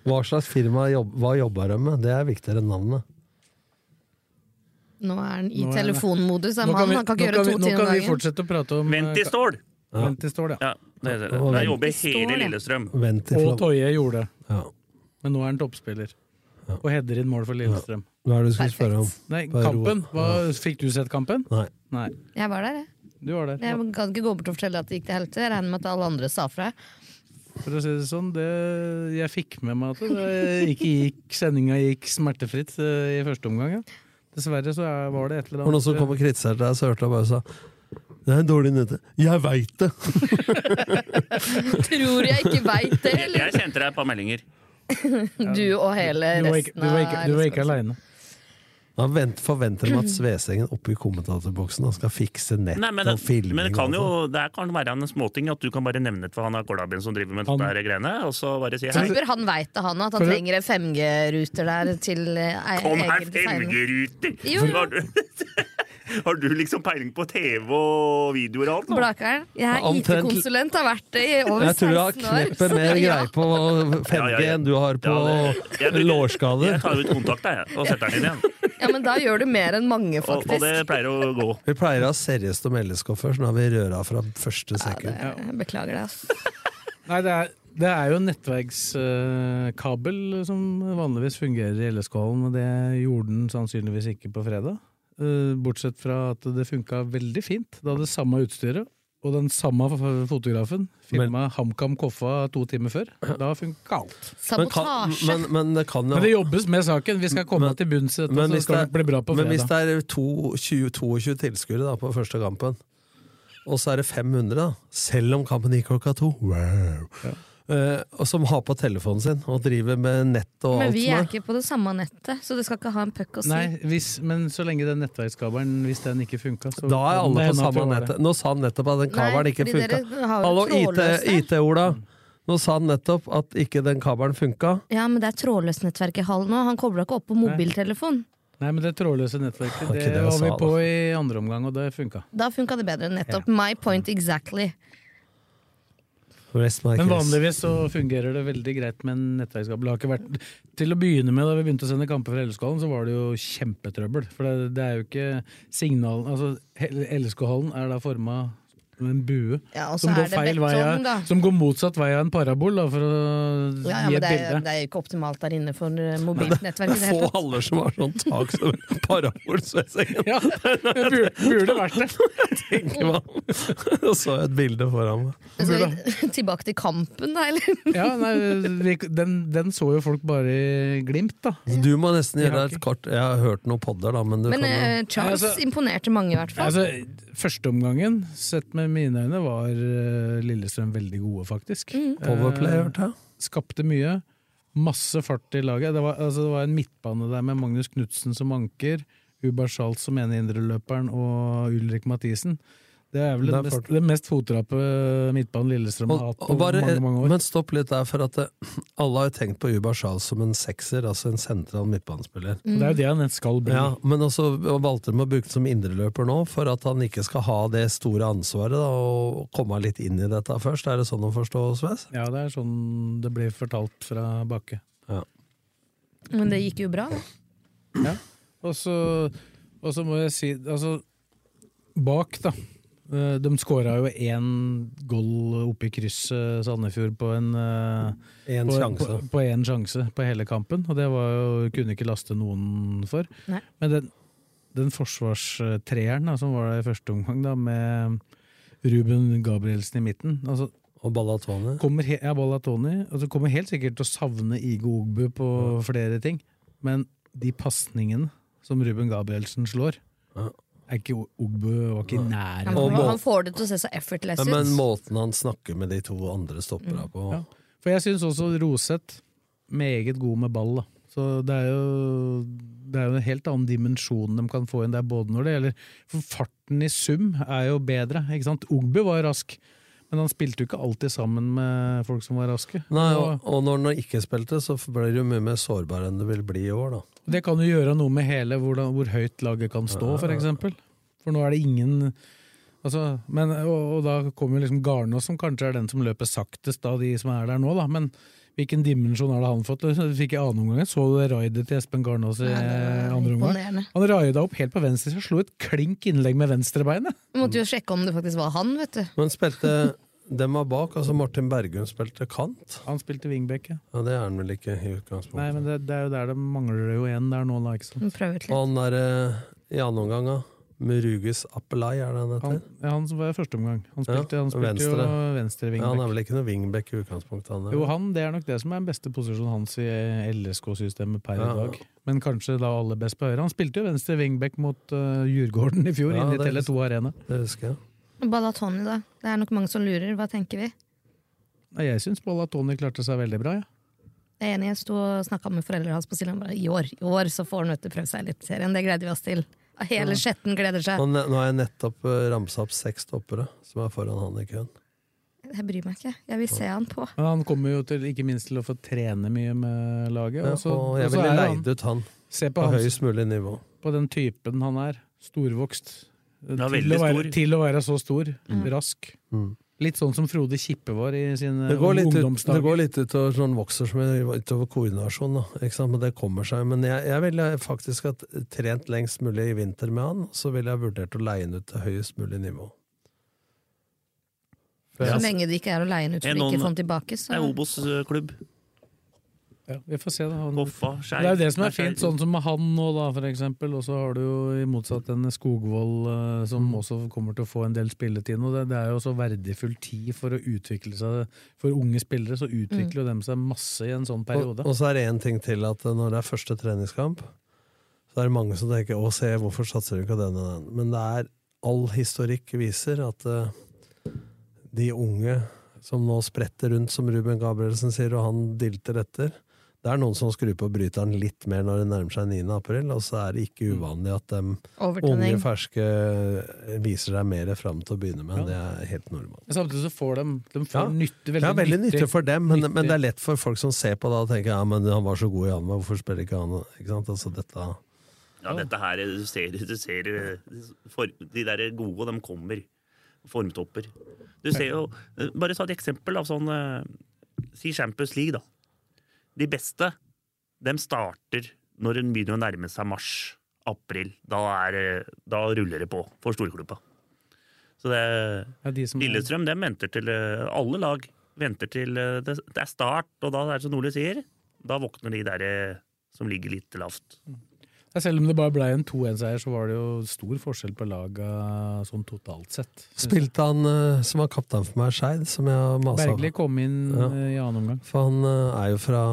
S4: Hva slags firma jobb, hva jobber de med? Det er viktigere enn navnet.
S5: Nå er han i
S2: Nå er han-
S5: telefonmodus. Han,
S2: Nå kan vi,
S5: han
S2: nå
S5: kan ikke
S2: kan
S5: gjøre
S2: vi,
S5: to
S2: nå
S5: ting om
S2: kan vi
S5: dagen.
S2: fortsette å prate om
S3: Venti stål!
S2: eh, Ventistål, ja.
S3: Ja, det, det, det. Jeg jobber i hele
S5: Stål, ja.
S3: Lillestrøm.
S4: Vent i
S2: Og
S4: flom.
S2: Toje gjorde det.
S4: Ja.
S2: Men nå er han toppspiller. Og header inn mål for Lillestrøm.
S4: Hva er det du skulle spørre om?
S2: Nei,
S4: Bare ro.
S2: kampen. Hva, fikk du sett kampen?
S4: Nei.
S2: Nei.
S5: Jeg var der, jeg.
S2: Du var der.
S5: Jeg kan ikke gå bort og fortelle at det gikk til helvete. Jeg regner med at alle andre sa fra.
S2: For å si det sånn, det, jeg fikk med meg at det ikke gikk, sendinga gikk smertefritt eh, i første omgang. Ja. Dessverre så er, var det et eller
S4: Det var noen
S2: annet eh,
S4: som kom og kritiserte deg, så hørte jeg bare sa Det er en dårlig nyhet. Jeg veit det!
S5: Tror jeg ikke veit det, eller?
S3: (laughs) Jeg sendte deg et par meldinger.
S5: Du og hele
S2: Du var ikke,
S5: resten
S2: du var ikke, du var ikke aleine.
S4: Da vent, forventer de at Svesengen oppe i kommentatorboksen han skal fikse nett
S3: Nei, men,
S4: og filming.
S3: men det kan
S4: og
S3: jo
S4: sånn.
S2: altså.
S3: det her kan være en småting at du kan bare nevne det for han Kolaben som driver med
S2: Han-
S3: dette her greiene, og så bare si hei.
S5: Tipper han veit det, han òg, at han
S2: For-
S5: trenger en 5G-ruter der til eh, e-
S3: Kom her,
S5: egen design.
S3: femgeruter!
S5: Jo, jo.
S3: Var du- (laughs) Har du liksom peiling på TV og videoer og alt? nå?
S5: Blakeren. Jeg er
S4: Omtrent-
S5: IT-konsulent, har vært det i over
S4: Jeg
S5: 16
S4: tror
S5: år.
S4: jeg har kneppet mer
S5: (laughs) Ja.
S4: greie på 5G
S3: Ja, ja, ja.
S4: enn du har på
S3: Ja, det- jeg bruker-
S4: lårskader.
S3: Jeg tar ut kontakta jeg, og setter den inn igjen.
S5: ja, men da gjør du mer enn mange,
S3: Og, og
S5: faktisk.
S3: det pleier å gå.
S4: Vi pleier å ha seriøst om LS-koffer, så nå har vi røra fra første sekund.
S5: Jeg Beklager det, ass.
S2: Nei, det er, det er jo nettverkskabel eh, som vanligvis fungerer i LSK-hallen, men det gjorde den sannsynligvis ikke på fredag. Eh, Bortsett fra at det funka veldig fint. Det hadde samme utstyret. Og den samme f- fotografen filma HamKam Koffa to timer før. Da funka alt.
S4: Men, kan,
S5: Sabotasje.
S4: men, men det kan jo
S2: Men det jobbes med saken. Vi skal komme
S4: Men-
S2: til bunns i dette.
S4: Men
S2: så
S4: hvis
S2: skal
S4: det,
S2: det bli bra på
S4: men hvis
S2: fredag.
S4: det er to- 20 22 tilskuere da, på første kampen, og så er det 500, da, selv om kampen gikk klokka to wow, eh, og Som har på telefonen sin og driver med nett og
S5: Men
S4: alt
S5: vi
S4: som er.
S5: er ikke på det samme nettet, så du skal ikke ha en puck å si.
S2: Nei, hvis, men så lenge den nettverkskabelen Hvis den ikke funka, så
S4: Da er
S2: kan det
S4: alle på
S2: hende at vi
S4: samme
S2: var det.
S4: nettet. Nå sa han nettopp at den kabelen ikke
S5: fordi
S4: funka.
S5: dere har jo
S4: Hallo,
S5: trådløst der.
S4: IT-Ola. Nå sa han nettopp at ikke den kabelen funka.
S5: Ja, men det er trådløst nettverk i hallen nå. Han kobla ikke opp på mobiltelefon.
S2: Nei, men det trådløse nettverket,
S4: Det var
S2: det,
S4: ikke det jeg
S2: var vi
S4: sa, altså.
S2: på i andre omgang, og det funka.
S5: Da funka det bedre. Nettopp. My point exactly.
S4: Rest my
S2: Men
S4: case.
S2: vanligvis så fungerer det veldig greit med en nettverkskabel. Det har ikke vært, til å begynne med, da vi begynte å sende kamper for LSK-hallen, så var det jo kjempetrøbbel. For det, det er jo ikke signalen Altså, LSK-hallen er da forma som en bue
S5: Ja, og så
S2: som
S5: er
S2: går
S5: det
S2: feil vei
S5: betong,
S2: av,
S5: da.
S2: Som går motsatt vei av en parabol, da, for å
S5: Ja, ja,
S2: gi
S5: men
S2: et
S5: det er,
S2: bilde.
S5: det er jo ikke optimalt der inne
S2: (laughs)
S5: for eh, mobilt nettverk. i det hele
S4: Få
S5: tatt.
S4: haller som har sånn tak som en parabol. Så jeg ser ikke
S5: (laughs)
S2: Ja, det burde, burde vært det.
S4: tenker meg om. Og så et bilde foran meg.
S5: Skal vi (laughs) tilbake til kampen, da, eller?
S2: Ja, nei, vi, den, den så jo folk bare i glimt, da.
S4: Så du må nesten
S2: Jeg har
S4: gjøre et
S2: ikke-
S4: kort Jeg har hørt noen podder, da, men du
S5: Men
S4: kan jo
S5: eh, Charles
S2: Nei, altså-
S5: imponerte mange, i hvert
S2: Ja,
S5: fall.
S2: Altså, Førsteomgangen, sett med mine øyne, var eh, Lillestrøm veldig gode, faktisk.
S5: Mm.
S4: Powerplay, hørte jeg.
S2: Eh, skapte mye. Masse fart i laget. Det var, altså, det var en midtbane der med Magnus Knutsen som anker, Ubar Schalt som ene indreløperen og Ulrik Mathisen. Det er vel
S4: Det er
S2: den
S4: fart.
S2: mest, den mest fotrappe midtbanen Lillestrøm har
S4: Og,
S2: hatt på
S4: og bare,
S2: mange mange år.
S4: men stopp litt der, for at det, alle har jo tenkt på Ubar Sjal som en sekser, altså en sentral midtbanespiller.
S2: Og Det er jo det han skal bli.
S4: Ja, men også valgte de å bruke det som indreløper nå, for at han ikke skal ha det store ansvaret da, og komme litt inn i dette først. Er det sånn å forstå, Sves?
S2: Ja, det er sånn det blir fortalt fra Bakke.
S5: Men det gikk jo bra. da.
S2: Og så, og så må jeg si Altså, bak, da. eh, De skåra jo én goal oppe i krysset Sandefjord på en eh,
S4: En
S2: på,
S4: sjanse.
S2: på- på én sjanse på hele kampen, og det var jo, kunne ikke laste noen for.
S5: Nei.
S2: Men den, den forsvarstreeren da, som var der i første omgang, da, med Ruben Gabrielsen i midten altså,
S4: Og Ballatone.
S2: kommer he ja, Ballatoni altså, kommer helt sikkert til å savne Igo Ogbu på flere ting, men de pasningene som Ruben Gabrielsen slår,
S4: Ja.
S2: er ikke O- Ogbu var ikke i nærheten.
S4: Og
S5: Han,
S4: må-
S5: han får det til å se så effortless
S4: Ja,
S5: ut.
S4: men måten han snakker med de to andre stoppera på
S2: Mm, Ja. For jeg syns også Roseth meget god med ball. Da. Så det er, jo, det er jo en helt annen dimensjon de kan få inn der, både når det gjelder For farten i sum er jo bedre, ikke sant? Ogbu var rask, men han spilte jo ikke alltid sammen med folk som var raske.
S4: Nei, og,
S2: og
S4: og når han ikke spilte, så ble du mye mer sårbar enn du vil bli i år, da.
S2: det kan jo gjøre noe med hele hvordan, hvor høyt laget kan stå, for eksempel. For nå er det ingen altså, men, og, og da kommer jo liksom Garnås, som kanskje er den som løper saktest av de som er der nå, da. Men hvilken dimensjon har det han fått? Det fikk jeg ane omgangen. Så du det raidet til Espen Garnås i Eh, andre omgang?
S5: Imponerende.
S2: Han raida opp helt på venstre, så slo et klink innlegg med venstrebeinet.
S5: Vi måtte jo sjekke om det faktisk var han, vet du.
S4: Men spilte
S2: (laughs)
S4: dem var bak, altså Martin Bergum spilte kant.
S2: Han spilte wingback, ja.
S4: Ja, Det er han vel ikke i utgangspunktet.
S2: Nei, men det, det er jo der det mangler jo en der nå, da, ikke sant.
S5: Vi prøver ut
S4: Og
S5: litt.
S4: han der eh, i andre omgang, da. Murugis Appelai, er det han heter?
S2: Han, ja, han som var i første omgang. Han
S4: Ja,
S2: spilte, han spilte jo
S4: venstre.
S2: venstre
S4: Ja, han
S2: wingback.
S4: er vel ikke noe wingback i utgangspunktet, han
S2: Jo,
S4: der.
S2: han, det er nok det som er den beste posisjonen hans i LSK-systemet per i
S4: Ja.
S2: dag. Men kanskje da aller best på høyre. Han spilte jo venstre wingback mot eh, Djurgården i fjor,
S4: Ja,
S2: inne i
S4: det er-
S2: Tele2 Arena.
S4: Det husker jeg.
S5: Balatoni, da. Det er nok mange som lurer. Hva tenker vi?
S2: Nei, Jeg syns Ballatoni klarte seg veldig bra, ja.
S5: Jeg er enig, jeg sto og snakka med foreldrene hans på Siljan. Bare, I år i år så får han vet du, prøve seg litt i serien. Det gleder vi oss til. Hele Skjetten gleder seg.
S4: Nå, nå har jeg nettopp eh, ramsa opp seks stoppere som er foran han i køen.
S5: Jeg bryr meg ikke. Jeg vil se han på.
S2: Men han kommer jo til, ikke minst til å få trene mye med laget.
S4: Ja,
S2: og så-
S4: og jeg
S2: og så
S4: ville
S2: er han-
S4: leid ut han
S2: Se på,
S4: på
S2: han,
S4: høyest mulig nivå.
S2: på den typen han er. Storvokst. Til
S3: Ja,
S2: å,
S3: veldig
S2: være,
S3: stor.
S2: til å være så stor. Rask.
S4: Mm.
S2: Litt sånn som Frode Kippe var i sine
S4: Det går litt, ut, det
S2: ungdomsdager.
S4: går litt utover sånn vokser som er utover koordinasjon, da. Ikke sant? Men det kommer seg. Men jeg, jeg ville faktisk hatt trent lengst mulig i vinter med han, så ville jeg vurdert å leie han ut til høyest mulig nivå. For
S5: Så
S4: jeg-
S5: lenge det ikke er å leie den ut
S3: Er
S5: for ikke
S3: noen-
S5: få den tilbake, så
S3: Det er Obos-klubb.
S2: Ja, vi får se, da. Han,
S3: Hoffa, Skei.
S2: Det er jo det som er
S3: Skei.
S2: fint, sånn som med han nå, da, for eksempel. Og så har du jo i motsatt en Skogvold eh, som
S4: Mm.
S2: også kommer til å få en del spilletid nå. Det, det er jo så verdifull tid for å utvikle seg. For unge spillere så utvikler jo dem seg masse i en sånn
S4: Mm. og,
S2: periode.
S4: og så er det én ting til at når det er første treningskamp, så er det mange som tenker 'Å, se, hvorfor satser du ikke på den og den?' Men det er all historikk viser at eh, de unge som nå spretter rundt, som Ruben Gabrielsen sier, og han dilter etter Det er noen som skrur på bryteren litt mer når det nærmer seg 9. april, og så er det ikke uvanlig at dem
S5: overtenning.
S4: Unge, ferske viser deg mer fram til å begynne med. Det er helt normalt.
S2: Men samtidig så får de, de får
S4: Ja.
S2: nytte, veldig,
S4: Ja, veldig nyttig for dem, men,
S2: nyttig.
S4: men det er lett for folk som ser på da og tenker ja, men han var så god i Anva, hvorfor spiller ikke han? Ikke sant? Altså, dette...
S3: Ja, dette her du ser, du ser eh, for, De der gode, de kommer. Formtopper. Du ser jo eh, Bare ta et eksempel av sånn eh, Si Champions League, da. De beste, dem starter når en begynner å nærme seg mars, april. Da, er, eh, da ruller det på for storklubba. Så det
S2: Ja, de
S3: Mm.
S2: som er,
S3: Lillestrøm, dem venter til eh, Alle lag venter til eh, det, det er start, og da er det som Nordli sier, da våkner de der eh, som ligger litt lavt.
S2: ja, selv om det bare ble en 2-1-seier, så var det jo stor forskjell på laga sånn totalt sett. synes jeg.
S4: Spilte han eh, som var kaptein for meg, Skeid, som jeg har masa
S2: Bergli kom inn
S4: altså. Ja.
S2: eh, i annen omgang.
S4: For han eh, er jo fra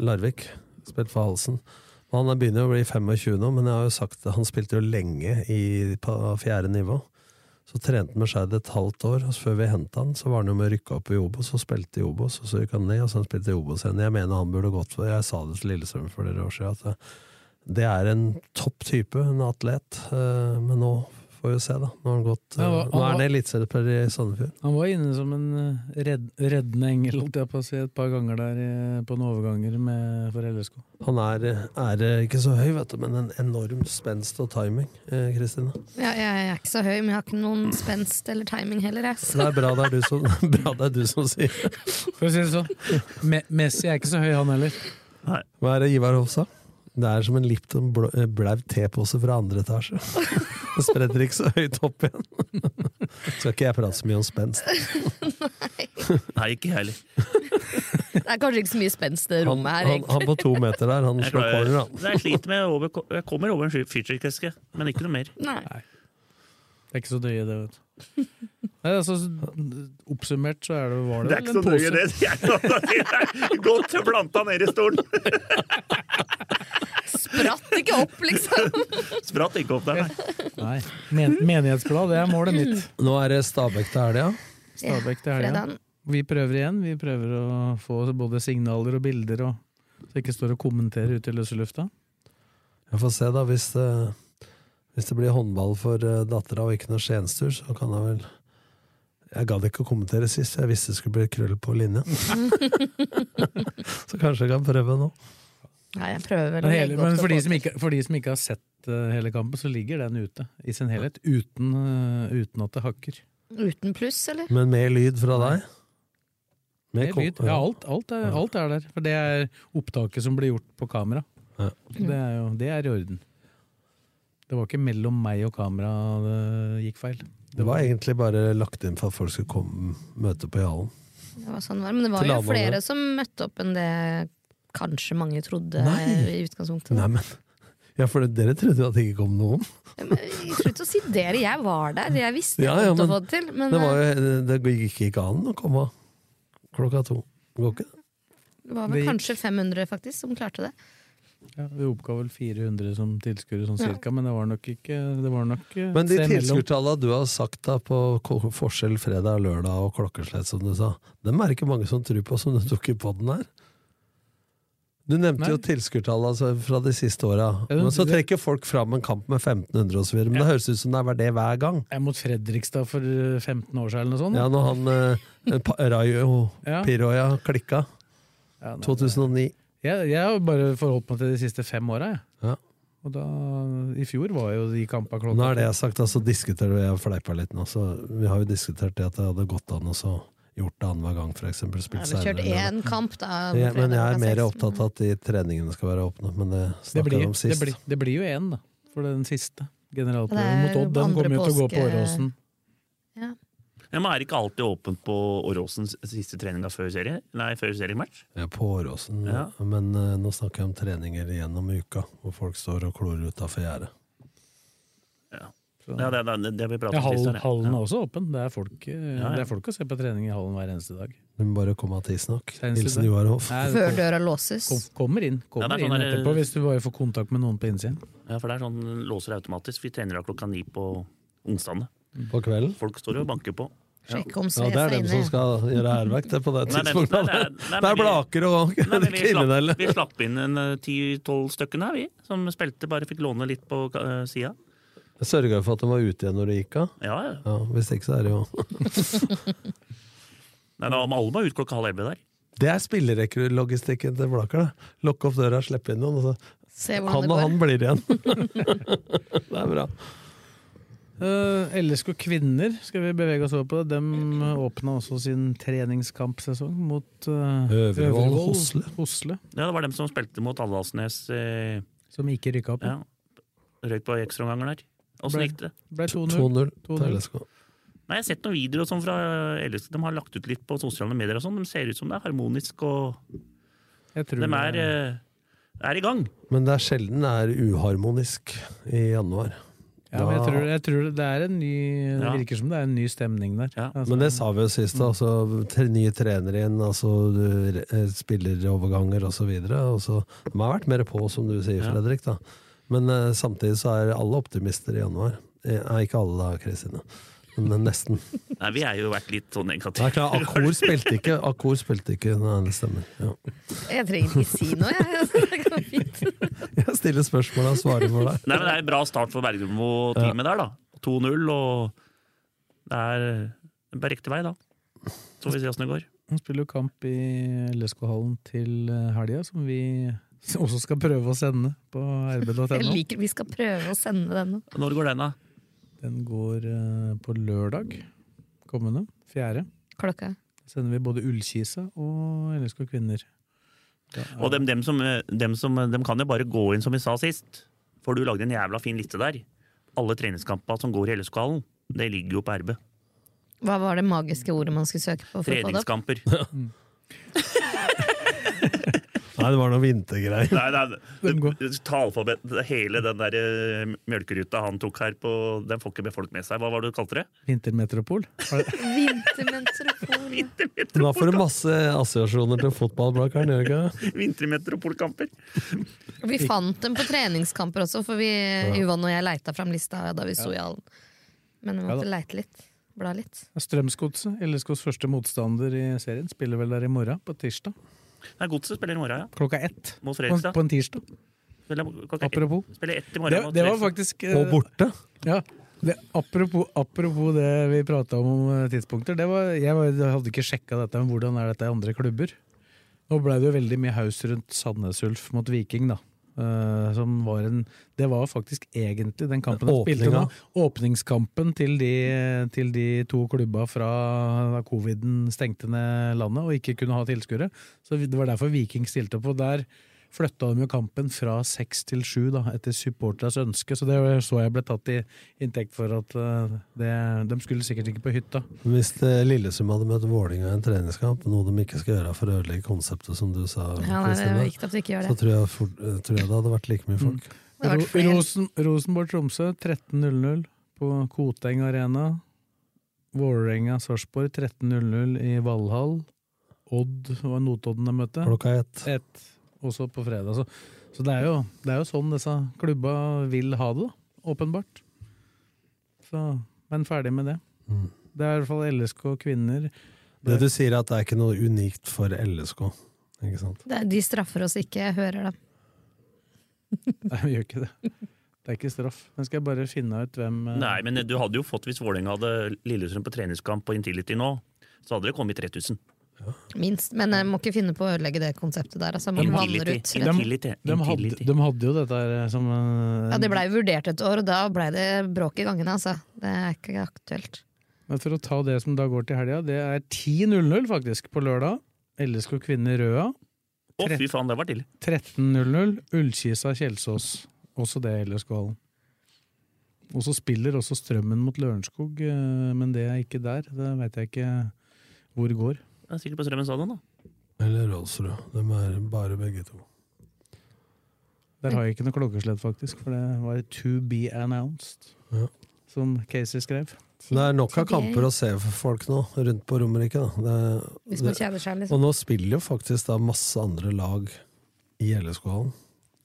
S4: Larvik, spilt for Halsen. Og Han begynner å bli 25 nå, men jeg har jo sagt at han spilte jo lenge i, på fjerde nivå. Så trente han med Skeid et halvt år, og så før vi henta han, så var han jo med å rykke opp i Obos, og spilte i Obos, og så gikk han ned, og så han spilte i Obos igjen. Jeg mener han burde gått for Jeg sa det til Lillestrøm for flere år siden, at eh, det er en topp type, en atlet, eh, men nå får vi se, da. Nå har han gått eh,
S2: Ja, hva-
S4: Nå er han eliteseriespiller i Sandefjord.
S2: Han var inne som en eh, redd, reddende engel holdt jeg på å si, et par ganger der eh, på noen overganger med, for LSK.
S4: Han er, er eh, ikke så høy, vet du, men en enorm spenst og timing, eh, Kristine.
S5: Ja, jeg er ikke så høy, men jeg har ikke noen spenst eller timing heller. Jeg.
S4: Det
S5: Så
S4: er bra det er du som, (laughs) bra det er du som sier det.
S2: For å si det sånn. Me Messi er ikke så høy, han heller.
S4: Hva er det Ivar Hoff sa? Det er som en Lipton blå- eh, blau tepose fra andre etasje. (laughs) Det spretter ikke så høyt opp igjen. (laughs) Skal ikke jeg prate så mye om spenst.
S3: Nei, ikke jeg heller.
S5: det er kanskje ikke så mye spenst i det
S4: Han,
S5: rommet her,
S4: han,
S5: egentlig.
S4: han på to meter der, han
S3: Jeg,
S4: slår corner,
S3: klarer,
S4: han.
S3: (laughs) Nei, jeg sliter med over, Jeg kommer over en sky- fyrtøykeske, men ikke noe mer.
S5: Nei.
S2: Det er ikke så døye, det, vet du. Nei, altså, oppsummert så er det, var det, (laughs) vel en pose.
S3: det. Godt planta ned i stolen.
S5: Spratt ikke opp,
S4: (laughs)
S5: liksom!
S3: (laughs) Spratt ikke opp der, nei.
S2: Nei. Men menighetsblad, det er målet mitt.
S4: Nå er det Stabæk til helga.
S2: Stabæk til helga.
S5: Fredagen.
S2: Vi prøver igjen. Vi prøver å få både signaler og bilder, og så ikke står og kommenterer ute i løse lufta.
S4: Jeg får se, da. Hvis det, hvis det blir håndball for eh, dattera og ikke noe Skienstur, så kan jeg vel Jeg gadd ikke å kommentere sist, for jeg visste det skulle bli krøll på
S2: (laughs)
S4: linja. så kanskje jeg kan prøve nå.
S5: Nei, jeg prøver vel
S2: Men,
S5: å
S2: hele,
S5: legge opp
S2: men
S5: til
S2: for, de
S5: folk.
S2: som ikke, for de som ikke har sett eh, hele kampen, så ligger den ute i sin helhet, uten, eh, uten at det hakker.
S5: Uten pluss, eller?
S4: Men med lyd fra deg?
S2: Det er lyd.
S4: kom-
S2: Ja, alt, alt, er, alt er der. For det er opptaket som blir gjort på kamera.
S4: Ja.
S2: Så Det er jo det er i orden. Det var ikke mellom meg og kamera det gikk feil.
S4: Det var egentlig bare lagt inn for at folk skulle komme møte på Jalen.
S5: Det var sånn det var. Men det var
S4: Til
S5: jo
S4: lavmålet.
S5: flere som møtte opp enn det kanskje mange trodde
S4: Nei.
S5: i utgangspunktet.
S4: Nei, men (laughs) ja, for dere trodde jo at det ikke kom noen.
S5: Men eh, Slutt å si dere, jeg var der. Jeg visste
S4: Ja,
S5: jeg
S4: ja,
S5: kom til
S4: men
S5: å få det til. Men eh,
S4: Det, var jo, det gikk ikke an å komme klokka to. Går ikke det?
S5: eh, det var
S2: Det
S5: vel
S2: gikk-
S5: kanskje 500 faktisk som klarte det.
S2: Ja, vi oppga vel 400 som tilskuere, sånn
S5: Ja.
S2: cirka, men det var nok ikke det var nok, eh,
S4: Men de
S2: seg imellom.
S4: tilskuertallene du har sagt da på ko- forskjell fredag og lørdag og klokkeslett, som du sa, dem er det ikke mange som tror på, som du tok i podden her. Du nevnte
S2: Nei.
S4: jo tilskuertallene altså, fra de siste åra.
S2: Ja, du-
S4: Men så
S2: det-
S4: trekker folk fram en kamp med 1500 osv. Men det høres ut som det er det hver gang.
S2: Jeg er mot Fredrikstad for eh, 15 år siden eller noe sånt.
S4: Ja, når han eh, pa- Rayo
S2: Ja.
S4: Piroya klikka.
S2: Ja, nei,
S4: 2009.
S2: Jeg, jeg har bare forholdt meg til de siste fem åra.
S4: Ja.
S2: Og da, I fjor var jo de kampa klokka
S4: Nå er det jeg har sagt, altså diskuterer vi, jeg fleipa litt nå, så vi har jo diskutert det at det hadde gått an å så gjort det annenhver gang, for eksempel.
S5: Ja,
S4: Spilt
S5: vi kjørte
S4: senere,
S5: én kamp, da.
S4: Ja, men jeg er
S5: fredag
S4: mer
S5: klokka seks.
S4: opptatt av at de treningene skal være åpne, men det
S2: det
S4: snakka
S2: blir,
S4: vi om sist.
S2: det, blir, det blir jo én, da. For den siste generalprøven
S5: Det er
S2: mot Odd. Den
S5: andre
S2: kommer jo til å gå på
S5: påske-
S2: Åråsen.
S5: Ja.
S3: Ja, men er det ikke alltid åpent på Åråsens siste treninga før serie? Nei, før seriematch?
S4: Ja, på Åråsen,
S3: Ja.
S4: men eh, nå snakker jeg om treninger gjennom uka, hvor folk står og klor utafor gjerdet.
S3: Ja, det, det, det har vi pratet
S2: Ja,
S3: om
S2: hallen,
S3: sist. her, ja.
S2: hallen er også åpen. Det er, folk, eh,
S3: ja.
S2: det er folk å se på trening i hallen hver eneste
S5: (laughs)
S2: dag.
S4: Du må bare komme av tidsnok.
S2: Senest
S4: Hilsen
S2: det.
S4: Joar Hoff.
S2: Nei, det
S5: Mm. Før
S2: kom-
S5: døra låses.
S2: kom, kommer inn, kommer
S3: Ja, det er
S2: inn
S3: sånn der-
S2: etterpå, hvis du bare får kontakt med noen på innsiden.
S3: Ja, for det er sånn den låser automatisk. Vi trener av klokka ni på onsdagene.
S4: På kvelden?
S3: Folk står jo og banker
S2: (laughs)
S3: på.
S5: Sjekk om
S4: Ja,
S5: Sves
S4: det
S5: er
S4: er dem
S5: inne.
S4: som skal gjøre hærverk, det, på det
S3: (laughs) Nei, men-
S4: tidspunktet.
S3: nei, nei, nei,
S4: det
S3: men
S4: er
S3: vi-
S4: blaker og
S3: Nei, men vi,
S4: (laughs) kriminelle.
S3: slapp, vi slapp inn en eh, ti-tolv stykken her, vi. Som spilte, bare fikk låne litt på uh, sida.
S4: Jeg sørga for at de var ute igjen når de gikk av.
S3: Ja, ja.
S4: Ja, hvis ikke, så er det jo (laughs)
S3: Nei, da, alle var ute klokka halv elleve der.
S4: Det er spillerekkelogistikken til Blaker. da. Lukke opp døra, slippe inn noen. og så-
S5: Se hvordan
S4: Han
S5: det
S4: og
S5: går.
S4: han blir igjen.
S5: (laughs)
S4: (laughs) det er bra.
S2: Uh, LSK kvinner, skal vi bevege oss over på det. De åpna også sin treningskampsesong mot eh,
S4: Øvrevoll Hosle.
S2: Hosle,
S3: Ja, det var dem som spilte mot Alvdalsnes. Eh,
S2: Som ikke rykka opp.
S3: ja. Røyk på ekstraomganger der. Åssen
S2: Ble-
S3: gikk det?
S2: Ble 2-0.
S4: 2-0 til
S2: 2-0.
S4: LSK.
S3: Nei, Jeg har sett noen videoer og sånn fra LSK. De har lagt ut litt på sosiale medier. og sånn. De ser ut som det er harmonisk, og
S2: Jeg tror
S3: de er,
S2: det-
S3: eh, er i gang.
S4: Men det er sjelden det er uharmonisk i januar.
S2: ja, men jeg tror, jeg tror det er en ny Det
S3: Ja.
S2: virker som det er en ny stemning der.
S3: Ja.
S2: Altså,
S4: Men det sa vi jo sist, altså, tre, nye trenere inn, altså, du- eh, spilleroverganger osv. De har vært mer på, som du sier,
S3: Ja.
S4: Fredrik. Da. Men eh, samtidig så er alle optimister i januar. Eh, Nei, ikke alle, da, Kristine. Men eh, nesten.
S3: Nei, Vi har jo vært litt sånn negative.
S4: Det er klart, Akkor spilte ikke. Akkor spilte ikke Nei, det stemmer. Ja.
S5: Jeg trenger ikke si noe, jeg. (laughs) Det går
S4: (laughs)
S5: fint.
S4: Jeg stiller spørsmål og svarer for deg.
S3: Nei, men Det er en bra start for Bergermo-teamet der, da. 2-0, og det er på riktig vei, da. Så får vi se åssen det går.
S2: Han spiller jo kamp i LSK-hallen til eh, helga, som vi (laughs) også skal prøve å sende på
S5: Jeg
S2: rb.no.
S5: liker Vi skal prøve å sende den nå.
S3: Når går den, da?
S2: Den går eh, på lørdag kommende. Fjerde.
S5: klokka.
S2: Da sender vi både Ullkisa og LSK Kvinner. Da er-
S3: Og dem, dem, som, eh, dem, som, dem kan jo bare gå inn, som vi sa sist. For du lagde en jævla fin liste der. Alle treningskampene som går i LSK-hallen, det ligger jo på RB.
S5: Hva var det magiske ordet man skulle søke på? For å få det opp?
S3: Treningskamper.
S4: Nei, det var noe vintergreier.
S3: (laughs) Nei, nei,
S2: Den går.
S3: det- talfabet, hele den der eh, mjølkeruta han tok her på Den får ikke folk med seg. Hva var det du kalte det? (laughs)
S2: Vintermetropol. Har-
S5: Vintermetropol.
S4: Nå får du masse assosiasjoner til fotballblakeren, gjør du ikke? det?
S3: Vintermetropolkamper.
S5: Vi fant dem på treningskamper også, for vi, Yvonne og jeg leita fram lista da vi sto i hallen. Men vi
S2: Ja da.
S5: måtte leite litt. Bla litt.
S2: (laughs) Strømsgodset, LSKs første motstander i serien, spiller vel der i morgen, på tirsdag.
S3: Nei, Godset spiller i morgen, ja.
S2: Klokka ett.
S3: Mot
S2: På,
S3: Fredrikstad.
S2: på en tirsdag.
S3: Spiller klokka ett.
S2: Apropos.
S3: Spiller ett i morgen.
S2: Det,
S3: mot
S2: det var
S3: Fredrikstad.
S2: faktisk eh,
S4: Og borte.
S2: Ja, det, apropos, apropos det vi prata om om eh, tidspunkter. Det var, jeg, var, jeg hadde ikke sjekka dette, men hvordan er dette i andre klubber? Nå blei det jo veldig mye haus rundt Sandnes Ulf mot Viking, da. Eh, som var en Det var faktisk egentlig den kampen de spilte nå.
S4: Åpninga.
S2: Åpningskampen til de, til de to klubba fra da coviden stengte ned landet og ikke kunne ha tilskuere. Så det var derfor Viking stilte opp. Og der flytta de jo kampen fra seks til sju, da, etter supporters ønske. Så det så jeg ble tatt i inntekt for at eh, det, de skulle sikkert ikke på hytta.
S4: Hvis eh, Lillesund hadde møtt Vålinga i en treningskamp, noe de ikke skal gjøre for å ødelegge konseptet, som du sa,
S5: Ja, nei, det
S4: Kristine,
S5: var viktig at vi ikke gjør
S4: så
S5: det.
S4: tror jeg, fort, eh, tror jeg det hadde vært like mye folk.
S5: Det har vært
S2: Ro-
S5: flere.
S2: Rosen, Rosenborg-Tromsø 13.00 på Koteng Arena. Vålerenga-Sarpsborg 13.00 i Valhall. Odd var Notodden de møtte.
S4: Klokka ett.
S2: Ett også på fredag. Så, så det, er jo, det er jo sånn disse klubba vil ha det, da. Åpenbart. Så, men ferdig med det.
S4: Mm.
S2: Det er i hvert fall LSK kvinner. (laughs)
S4: Det du sier, er at det er ikke noe unikt for LSK. Ikke sant?
S5: Det- De straffer oss ikke, jeg hører dem.
S2: Nei, vi gjør ikke det. Det er ikke straff. Nå skal jeg bare finne ut hvem eh,
S3: Nei, men du hadde jo fått, hvis Vålerenga hadde Lillestrøm på treningskamp på Intility nå, så hadde det kommet 3000.
S5: Minst. Men jeg må ikke finne på å ødelegge det konseptet der. Altså, man vanner ut.
S3: Intility. Intility.
S2: De hadde,
S3: Intility.
S2: de hadde jo dette her som eh,
S5: Ja, det blei vurdert et år, og da blei det bråk i gangene, altså. Det er ikke aktuelt.
S2: Men for å ta det som da går til helga, det er 10.00 faktisk på lørdag. LSK Kvinner Røa.
S3: Å, fy faen, det var tidlig.
S2: 13.00 Ullkisa Kjelsås. Også det LSK-hallen. Og så spiller også Strømmen mot Lørenskog, eh, men det er ikke der. Det veit jeg ikke hvor går.
S3: Det er sikkert på Strømmen stadion, da.
S4: Eller Rolls-Royce. De er bare begge to.
S2: Der har jeg ikke noe klokkeslett, faktisk, for det var 'to be announced',
S4: Ja.
S2: som Casey skrev.
S4: Så det er nok av
S5: Tidlig.
S4: kamper å se for folk nå, rundt på Romerike. Da.
S5: Hvis
S4: Det,
S5: man kjeder seg,
S4: og
S5: liksom.
S4: nå spiller jo faktisk da masse andre lag i LSK-hallen.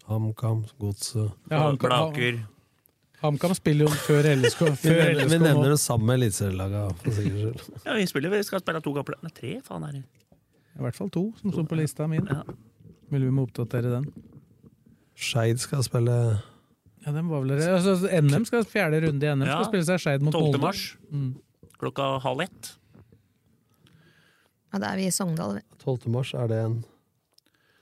S4: HamKam, Godset
S2: Ja, HamKam-
S3: Blaker.
S2: HamKam spiller jo før LSK.
S4: Vi
S2: Før
S4: nevner, vi
S2: LSK
S4: nevner
S2: nå.
S4: det samme eliteserielaget, for sikkerhets skyld.
S3: Ja, vi spiller, vi skal spille to gamle Nei, tre, faen er det.
S2: I hvert fall to som sto på lista min.
S3: Ja.
S2: Vil vi må oppdatere den?
S4: Skeid skal spille
S2: Ja, den var vel altså, NM skal fjerde runde i NM
S3: Ja.
S2: skal spille seg Skeid mot
S3: 12.
S2: Molde.
S3: mars klokka halv ett.
S5: Ja, da er vi i Sogndal. vi.
S4: 12. mars. Er det en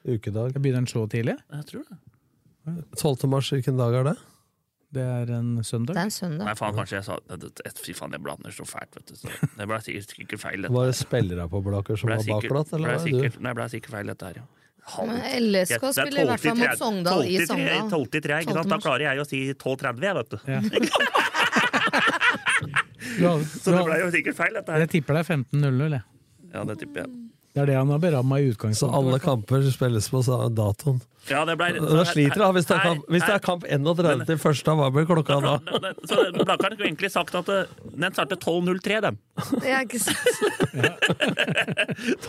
S4: ukedag?
S2: Jeg begynner den så tidlig.
S3: Jeg tror det.
S4: 12. mars, hvilken dag er det?
S2: Det er en
S5: Det
S2: søndag.
S5: er en søndag.
S3: Nei, faen, kanskje jeg sa det- det- Fy faen, jeg blander så fælt, vet du. Så det ble sikkert ikke feil, dette.
S4: Var det spillere på Blaker som
S3: Ble
S4: var
S3: sikkert-
S4: bakblatt, eller
S3: ble
S4: var det du?
S3: sikkert, Nei, ble sikkert feil, dette her, ja. Halv-
S5: Men
S3: Jeg-
S5: LSK
S3: det er
S5: spiller i hvert fall
S3: 12.30,
S5: mot Sogndal i
S3: 12.30,
S5: Sogndal.
S3: 12.30, ikke sant?
S5: 12.
S3: Da
S5: mars.
S3: klarer jeg å si 12.30, jeg, vet du.
S2: Ja. Du
S3: (laughs)
S2: (laughs) har-
S3: Så det
S2: du
S3: ble
S2: har-
S3: jo sikkert feil, dette her.
S2: Jeg tipper det er 15.00. jeg.
S3: Ja, det tipper jeg.
S2: Det er det han har beramma i
S4: Så
S2: utgangspunktet.
S4: alle kamper spilles på sa- datoen.
S3: Ja, det ble,
S4: Da sliter du, da, hvis det er kamp, hvis det er kamp 31 til første, hva blir
S3: (laughs)
S4: klokka da?
S3: Så Blakkaren skulle egentlig sagt at eh, den starter 12.03, den.
S5: Det er ikke sant.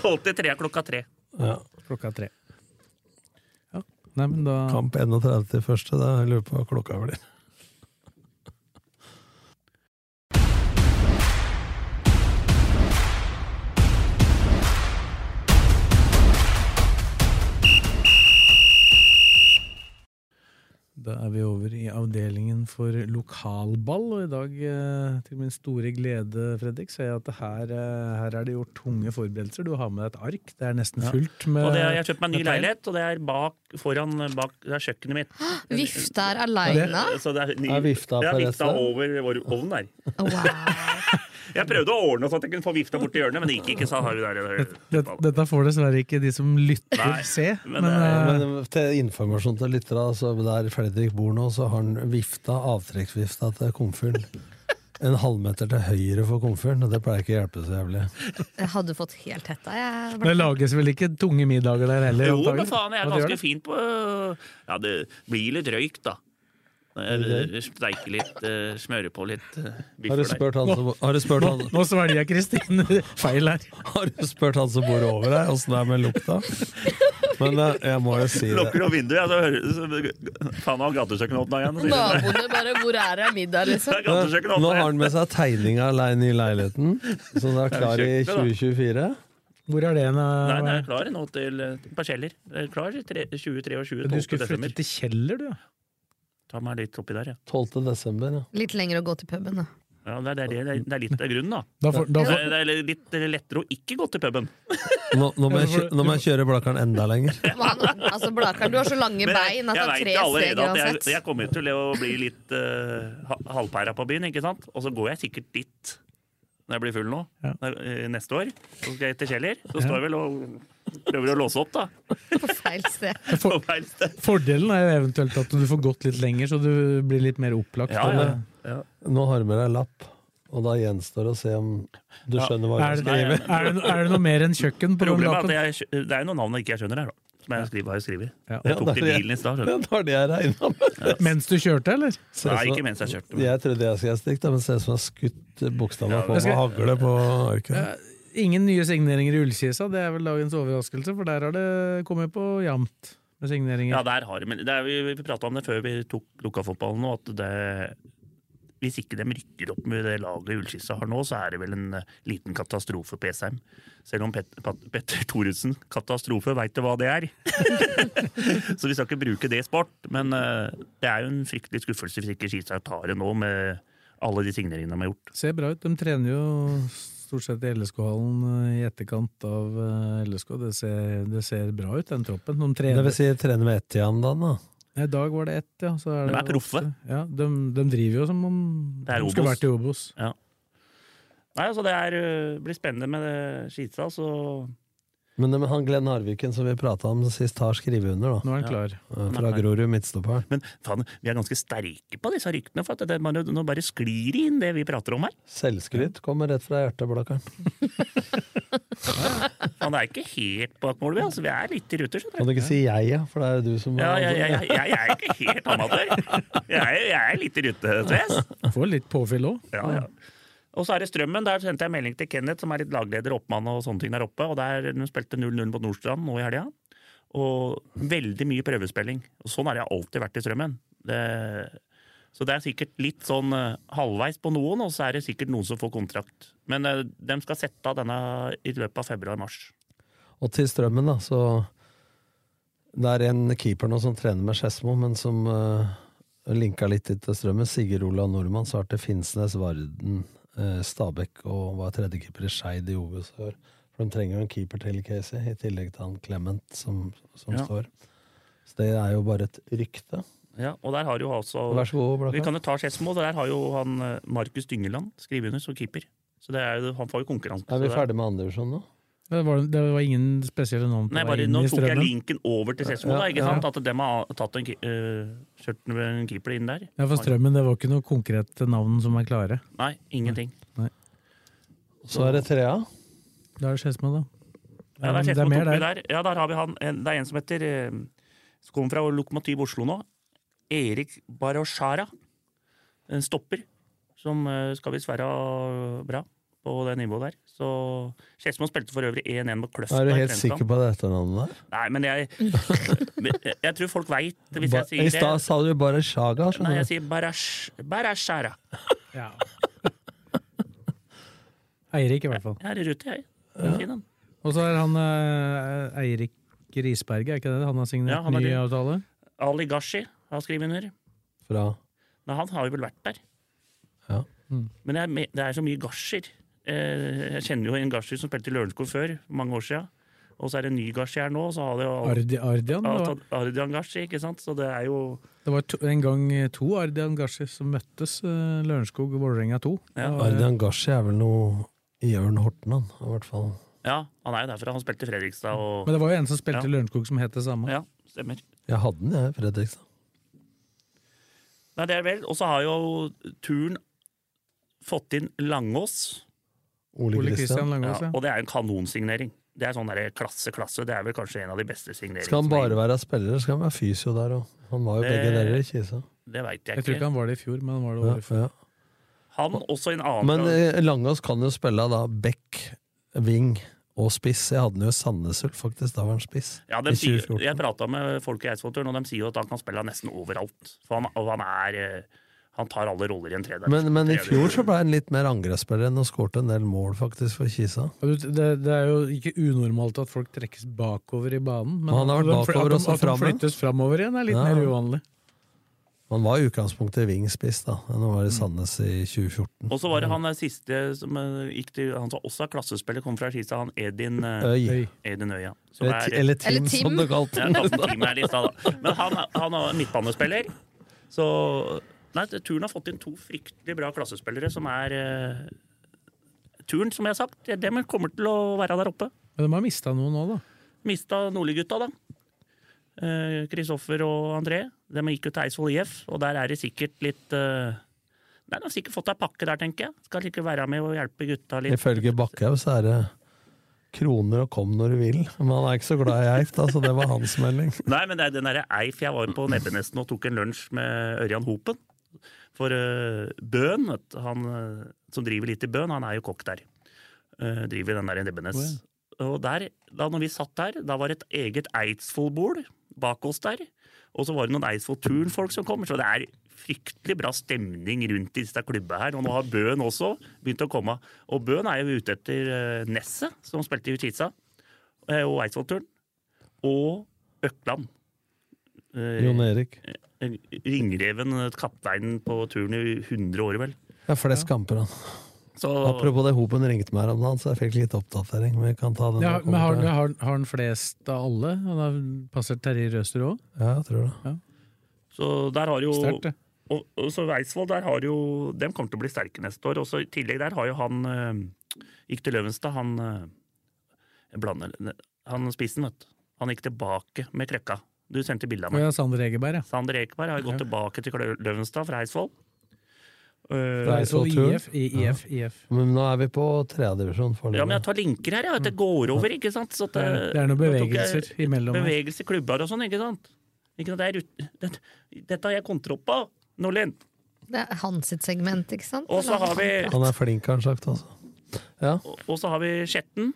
S3: 12.03 er klokka tre.
S4: Ja.
S2: Klokka tre. Ja. Nei, men da
S4: Kamp 31 til første, da jeg lurer på hva klokka blir.
S2: Da er vi over i avdelingen for lokalball, og i dag, eh, til min store glede, Fredrik, ser jeg at det her, eh, her er det gjort tunge forberedelser. Du har med deg et ark. Det er nesten fullt med
S3: Og det, er- jeg har kjøpt meg en ny
S4: Eh,
S2: Dette er-
S3: leilighet, og det er bak, foran eh, bak, det er kjøkkenet mitt.
S5: Vifte er aleine.
S3: Så det er, ny,
S4: Er vifta
S3: det er
S4: på
S3: vifta
S4: resten?
S3: over vår ovn der.
S5: Wow.
S3: Jeg prøvde å ordne sånn at jeg kunne få vifta bort til hjørnet, men det gikk ikke. sa har vi der.
S2: Dette, dette får dessverre ikke de som lytter,
S3: Nei,
S2: se. Men,
S3: men det
S2: eh,
S4: Men til informasjon til lyttere, altså der Fredrik bor nå, så har han vifta, avtrekksvifta til (laughs) komfyren. En halvmeter til høyre for komfyren, og det pleier ikke å hjelpe så jævlig.
S5: Jeg hadde fått helt hetta, jeg.
S2: det lages vel ikke tunge middager der heller?
S3: Jo,
S2: antagelig?
S3: men faen, jeg er
S2: Hva gjør
S3: ganske
S2: det?
S3: fin på eh, Ja, det blir litt røykt, da. Jeg Steiker litt, eh, smører på litt eh,
S4: Har du
S3: biffer der.
S4: spurt han som, har du spurt han,
S2: Nå svelger Kristine (laughs) feil her.
S4: har du spurt han som bor over deg, åssen det er med (laughs) lukta? Men eh, jeg må jo si det.
S3: Lukker opp vinduet, ja, så hører så- Faen, nå har gatekjøkkenet åpna igjen. (laughs) sier de.
S5: Naboene bare 'hvor er det middag',
S3: Det
S5: liksom.
S3: er gatekjøkkenet
S4: Nå
S3: åpnet
S4: har
S3: igjen.
S4: han med seg tegninga aleine i leiligheten, som er klar i
S3: kjøkkenet, da.
S4: 2024.
S2: Hvor er det en eh,
S3: Nei, den er
S2: av
S3: klar nå til eh, parseller. Den er Klar tre- 23 og 20.
S2: Du skulle flytte
S3: 12. desember.
S2: til Kjeller, du? ja.
S3: Ta meg litt oppi der, ja.
S4: 12. desember, ja.
S5: Litt lenger å gå til puben, da.
S3: ja det, er, det, det, er, det er litt av grunnen, da.
S2: Da får, da
S3: Det
S2: får,
S3: er, det er litt lettere å ikke gå til puben.
S4: Nå, nå, må jeg, kjø- nå må jeg kjøre Blakkaren enda lenger.
S5: Man, altså, Blakar, du har så lange
S3: Men jeg,
S5: bein at det
S3: jeg
S5: er
S3: vet
S5: tre steg
S3: allerede at jeg,
S5: uansett.
S3: jeg kommer til å bli litt eh, ha- halvpæra på byen, ikke sant? Og så går jeg sikkert dit når jeg blir full nå,
S2: Ja.
S3: når- eh, neste år. Så skal jeg til Kjeller. Så står jeg vel og prøver å låse opp, da.
S5: (laughs) På feil sted.
S3: (laughs) På feil sted.
S2: fordelen er jo eventuelt at du får gått litt lenger, så du blir litt mer opplagt. eh,
S3: Ja, ja. ja.
S4: Nå har du med deg lapp, og da gjenstår det å se om du skjønner hva
S2: Er det,
S4: jeg skriver.
S3: Nei,
S2: er,
S3: men-
S2: det, er det noe mer enn kjøkken på den
S3: Problemet er at
S2: lappen?
S3: jeg, skj- det er noen navn jeg ikke skjønner her, da. Som jeg skriver, har jeg skriver.
S2: Ja.
S3: Jeg tok
S4: Ja,
S3: til
S4: det er det.
S3: bilen i stad. skjønner du.
S4: (laughs) Det var det jeg regna med.
S2: Mens du kjørte, eller?
S3: Nei, ikke mens jeg kjørte. men-
S4: Jeg trodde jeg skulle stikke, da, men ser ut som jeg har skutt bokstavene på
S2: Jeg
S4: med
S2: skal-
S4: hagle på arket.
S2: Ingen nye signeringer i Ullkisa, det er vel dagens overraskelse, for der har det kommet på jevnt med signeringer.
S3: Ja, der har det, men det er, vi, vi prata om det før vi tok lokafotballen nå, at det hvis ikke de rykker opp med det laget Ullskissa har nå, så er det vel en eh, liten katastrofe på Esheim. Selv om Pet Pat Petter Thoresen, katastrofe, veit du hva det er? (laughs) så vi skal ikke bruke det i sport, men eh, det er jo en fryktelig skuffelse hvis ikke Skisa tar det nå, med alle de signeringene de har gjort.
S2: Ser bra ut. De trener jo stort sett i LSK-hallen eh, i etterkant av eh, LSK. Det ser, det ser bra ut, den troppen. De
S4: Det
S2: trener
S4: vil si trene med ett igjen, da? da.
S2: Nei, I dag var det ett, ja. Så er
S3: De
S2: det
S3: er proffe.
S2: åtte. Ja, de, de driver jo som om
S3: Det er
S2: de skulle
S3: Obos.
S2: vært i Obos.
S3: Nei, altså det er, øh, blir spennende med det Skitstad, så
S4: Men men han Glenn Harviken som vi prata om sist, har skrevet under, da. Eh,
S2: Nå er han klar.
S4: Fra Grorud midtstopper.
S3: Men faen, vi er ganske sterke på disse ryktene, for at det, man, nå bare sklir det inn det vi prater om her.
S4: Selvskryt kommer rett fra hjerteblokkeren.
S3: Faen, det er ikke helt bak mål, vi. Altså, vi er litt i ruter, skjønner du.
S4: Kan du ikke si jeg, ja? For det er jo du som
S3: Ja, jeg, jeg, jeg, jeg er ikke helt amatør. Jeg, er- jeg er litt i rute, Tves.
S2: Får litt påfyll òg.
S3: Ja, ja. Og så er det Strømmen. Der sendte jeg melding til Kenneth, som er litt lagleder, oppmann og sånne ting der oppe. Og der Hun spilte 0-0 mot Nordstrand nå i helga. Og veldig mye prøvespilling. Og sånn har jeg alltid vært i Strømmen. Det, så det er sikkert litt sånn eh, halvveis på noen, og så er det sikkert noen som får kontrakt. Men eh, de skal sette av denne i løpet av februar-mars.
S4: Og til strømmen, da, så Det er en keeper nå som trener med Skedsmo, men som eh, linka litt dit til strømmen. Sigurd Olav Nordmann svarte Finnsnes, Varden, eh, Stabæk og var tredjekeeper i Skeid i Obos i år. For de trenger jo en keeper til, Casey, i tillegg til han Clement som, som
S3: Ja.
S4: står. Så det er jo bare et rykte.
S3: Ja, og der har jo altså
S4: Vær så god,
S3: Vi
S4: Blakka.
S3: kan jo ta Skedsmo. Der har jo han eh, Markus Dyngeland skrevet under som keeper. Så det er, jo- han får jo konkurranse. Så
S4: Er vi
S3: det-
S4: ferdig med andre divisjon nå?
S2: Det var, det var ingen spesielle navn på
S3: Nei,
S2: vei
S3: bare
S2: inn
S3: Nå
S2: i
S3: tok jeg
S2: strømmen.
S3: linken over til Skedsmo,
S4: Ja,
S3: da. ikke
S4: ja.
S3: sant? At de har tatt en, ki- øh, kjørt en keeper inn der.
S2: Ja, for strømmen, det var ikke noe konkrete navn som er klare.
S3: Nei, ingenting.
S4: Så er det trea.
S2: Da er det Skedsmo, da. men
S3: Ja, det er
S2: det er
S3: Skedsmo
S2: mer
S3: tok vi der. Ja, der har vi han. En- Det er en som heter øh, Som kommer fra Lokomotiv Oslo nå. Erik Baroshara. En stopper. Som øh, skal visst være øh, bra på det nivået der. Så Skedsmo spilte for øvrig 1-1 mot Kløfta.
S4: Er du
S3: i
S4: helt
S3: Flensland.
S4: sikker på det etternavnet der?
S3: Nei, men jeg, (laughs) men jeg, jeg tror folk veit hvis
S4: Ba-
S3: jeg sier
S4: I stad
S3: det.
S4: sa du bare Sjaga,
S3: Nei,
S4: skjønner
S3: jeg
S4: du.
S3: sier Barash, Barashara.
S2: Ja. (laughs) Eirik, i hvert fall.
S3: Jeg er i rute, jeg. Den er fin, den.
S2: Og så er han eh, Eirik Risberget, er ikke det det? Han har signert
S3: Ja, han er
S2: ny
S3: det.
S2: avtale?
S3: Ali Gashi har skrevet under.
S4: Fra
S3: Nei, han har jo vel vært der.
S4: Ja.
S2: Mm.
S3: Men jeg, me- det er så mye gasjer. Eh, Jeg kjenner jo en gasjer som spilte i Lørenskog før, for mange år siden. Og så er det en ny gasjer her nå. Så har det jo
S2: Ardi, Ardian?
S3: Ja,
S2: det var-
S3: tatt Ardian Gashi, ikke sant? Så det er jo
S2: Det var to, en gang eh, to Ardian Gashi som møttes, eh, Lørenskog og Vålerenga eh, 2.
S3: Ja.
S2: Det var-
S4: Ardian Gashi er vel noe Jørn Horten, han, i hvert fall.
S3: Ja, han er jo derfra. Han spilte i Fredrikstad og
S2: Men det var jo en som spilte
S3: Ja.
S2: Lørenskog som het det samme.
S3: Ja, stemmer.
S4: Jeg hadde den, jeg, i Fredrikstad.
S3: Nei, det er vel. Og så har jo turen fått inn Langås.
S4: Ole
S2: Ole Kristian
S4: Kristian.
S2: Langås,
S3: Ja,
S2: ja.
S3: og det er en kanonsignering. Det er sånn der klasse, klasse. Det er vel kanskje en av de beste signeringene.
S4: Skal han bare være spiller, eller skal han være fysio der òg? Han var jo
S3: Det-
S4: begge deler i Kisa.
S3: Det veit jeg,
S2: Jeg tror ikke
S3: ikke.
S2: han var det i fjor, men han var det
S4: Ja,
S2: året før.
S4: ja.
S3: Han også en annen
S4: Men eh, Langås kan jo spille da back, wing og spiss. Jeg hadde den jo i Sandnes Ulf, faktisk. Da var han spiss.
S3: ja,
S4: I
S3: de sier,
S4: 2014.
S3: Jeg prata med folk i Eidsvollturen, og de sier jo at han kan spille nesten overalt. For han, og han er eh, Han tar alle roller i en tredje.
S4: Men, men i fjor så ble han litt mer angrepsspiller enn og skårte en del mål, faktisk, for Kisa.
S2: Og du- Det, det er jo ikke unormalt at folk trekkes bakover i banen, men
S4: Han har vært
S2: at de-
S4: bakover
S2: at de-
S4: og så
S2: at de
S4: framover.
S2: flyttes framover igjen er litt
S4: Ja.
S2: mer uvanlig.
S4: Han var i utgangspunktet wing-spiss, da. Han var
S2: Mm.
S4: i Sandnes i 2014.
S3: Og så var det han der siste som eh, gikk til Han som også er klassespiller, kom fra Skisa, han Edin, eh,
S4: Øy.
S2: Høy.
S3: Edin Øya. Som
S4: Eller,
S3: er eh,
S4: ti- eller Tim,
S5: Eller Tim.
S4: som det kalte
S3: Ja, Karsten Kim er litt da, da. Men han, er- han er midtbanespiller. Så Nei, Turn har fått inn to fryktelig bra klassespillere som er eh, Turn, som jeg har sagt, dem kommer til å være der oppe.
S2: Men de har mista noen nå, da.
S3: Mista Nordli-gutta, da. Eh, Kristoffer og André. De gikk jo til Eidsvoll IF, og der er det sikkert litt eh, Nei, De har sikkert fått ei pakke der, tenker jeg. Skal ikke være med og hjelpe gutta litt.
S4: Ifølge Bakkhaug så er det kroner og kom når du vil. Men han er ikke så glad i Eif, da, så det var hans
S2: (laughs)
S4: melding.
S3: Nei, men det er den derre Eif jeg var på Nebbenesten og tok en lunsj med Ørjan Hopen. For eh, Bøhn, vet du, han eh, som driver litt i Bøhn, han er jo kokk der. Eh, driver den der i Nebbenes. Og der, da når vi satt der, da var det et eget Eidsvoll-bord bak oss der. Og så var det noen Eidsvoll-turnfolk som kom, så det er fryktelig bra stemning rundt i disse klubba her. Og nå har Bøhn også begynt å komme. Og Bøhn er jo ute etter eh, Nesset, som spilte i Utsitsa, eh, og Eidsvoll-turn. Og Økland. Eh,
S4: Jon Erik.
S3: Ringreven, kapteinen eh, på turen i 100 år, vel.
S4: Det er flest kamper, han.
S3: Så
S4: Apropos det Hopen ringte meg her om dagen, så jeg fikk litt oppdatering. Men vi kan ta den
S2: Ja,
S4: når vi
S2: men har,
S4: kommer til-
S2: har, har han flest av alle? Han har passert Terje Røster òg?
S4: Ja, jeg tror det.
S3: Så der har jo
S2: Sterkt, det.
S3: og, og så Eidsvoll, der har jo Dem kommer til å bli sterke neste år. Og så i tillegg der har jo han eh, Gikk til Løvenstad, han eh, jeg blander ne- Han spissen, vet du. Han gikk tilbake med klekka. Du sendte bilde av
S2: Og
S3: meg.
S2: ja, Sander Egeberg, ja.
S3: Sander Ekeberg har jo gått
S2: Ja.
S3: tilbake til Klø- Løvenstad fra Eidsvoll.
S4: Fra
S3: Eh,
S4: Eidsvoll.
S2: Så
S4: Eidsvoll-turen.
S2: IF, I- IF, IF.
S4: Men nå er vi på tredjedivisjon foreløpig.
S3: Eh, ja, men jeg tar linker her, jeg. at Det går over, ikke sant? Så at,
S2: Mm. Det
S3: eh,
S2: er- det er noen
S3: nå tok jeg-
S2: bevegelser imellom her.
S3: Bevegelse, klubber og sånn, ikke sant? Ikke sant? Det er, ut- det, dette har jeg kontroll på, Nordlien.
S5: Det er hans sitt segment, ikke sant?
S3: Og så har vi
S4: Han er flink, har han sagt. Altså. Ja.
S3: Og og så har vi Skjetten.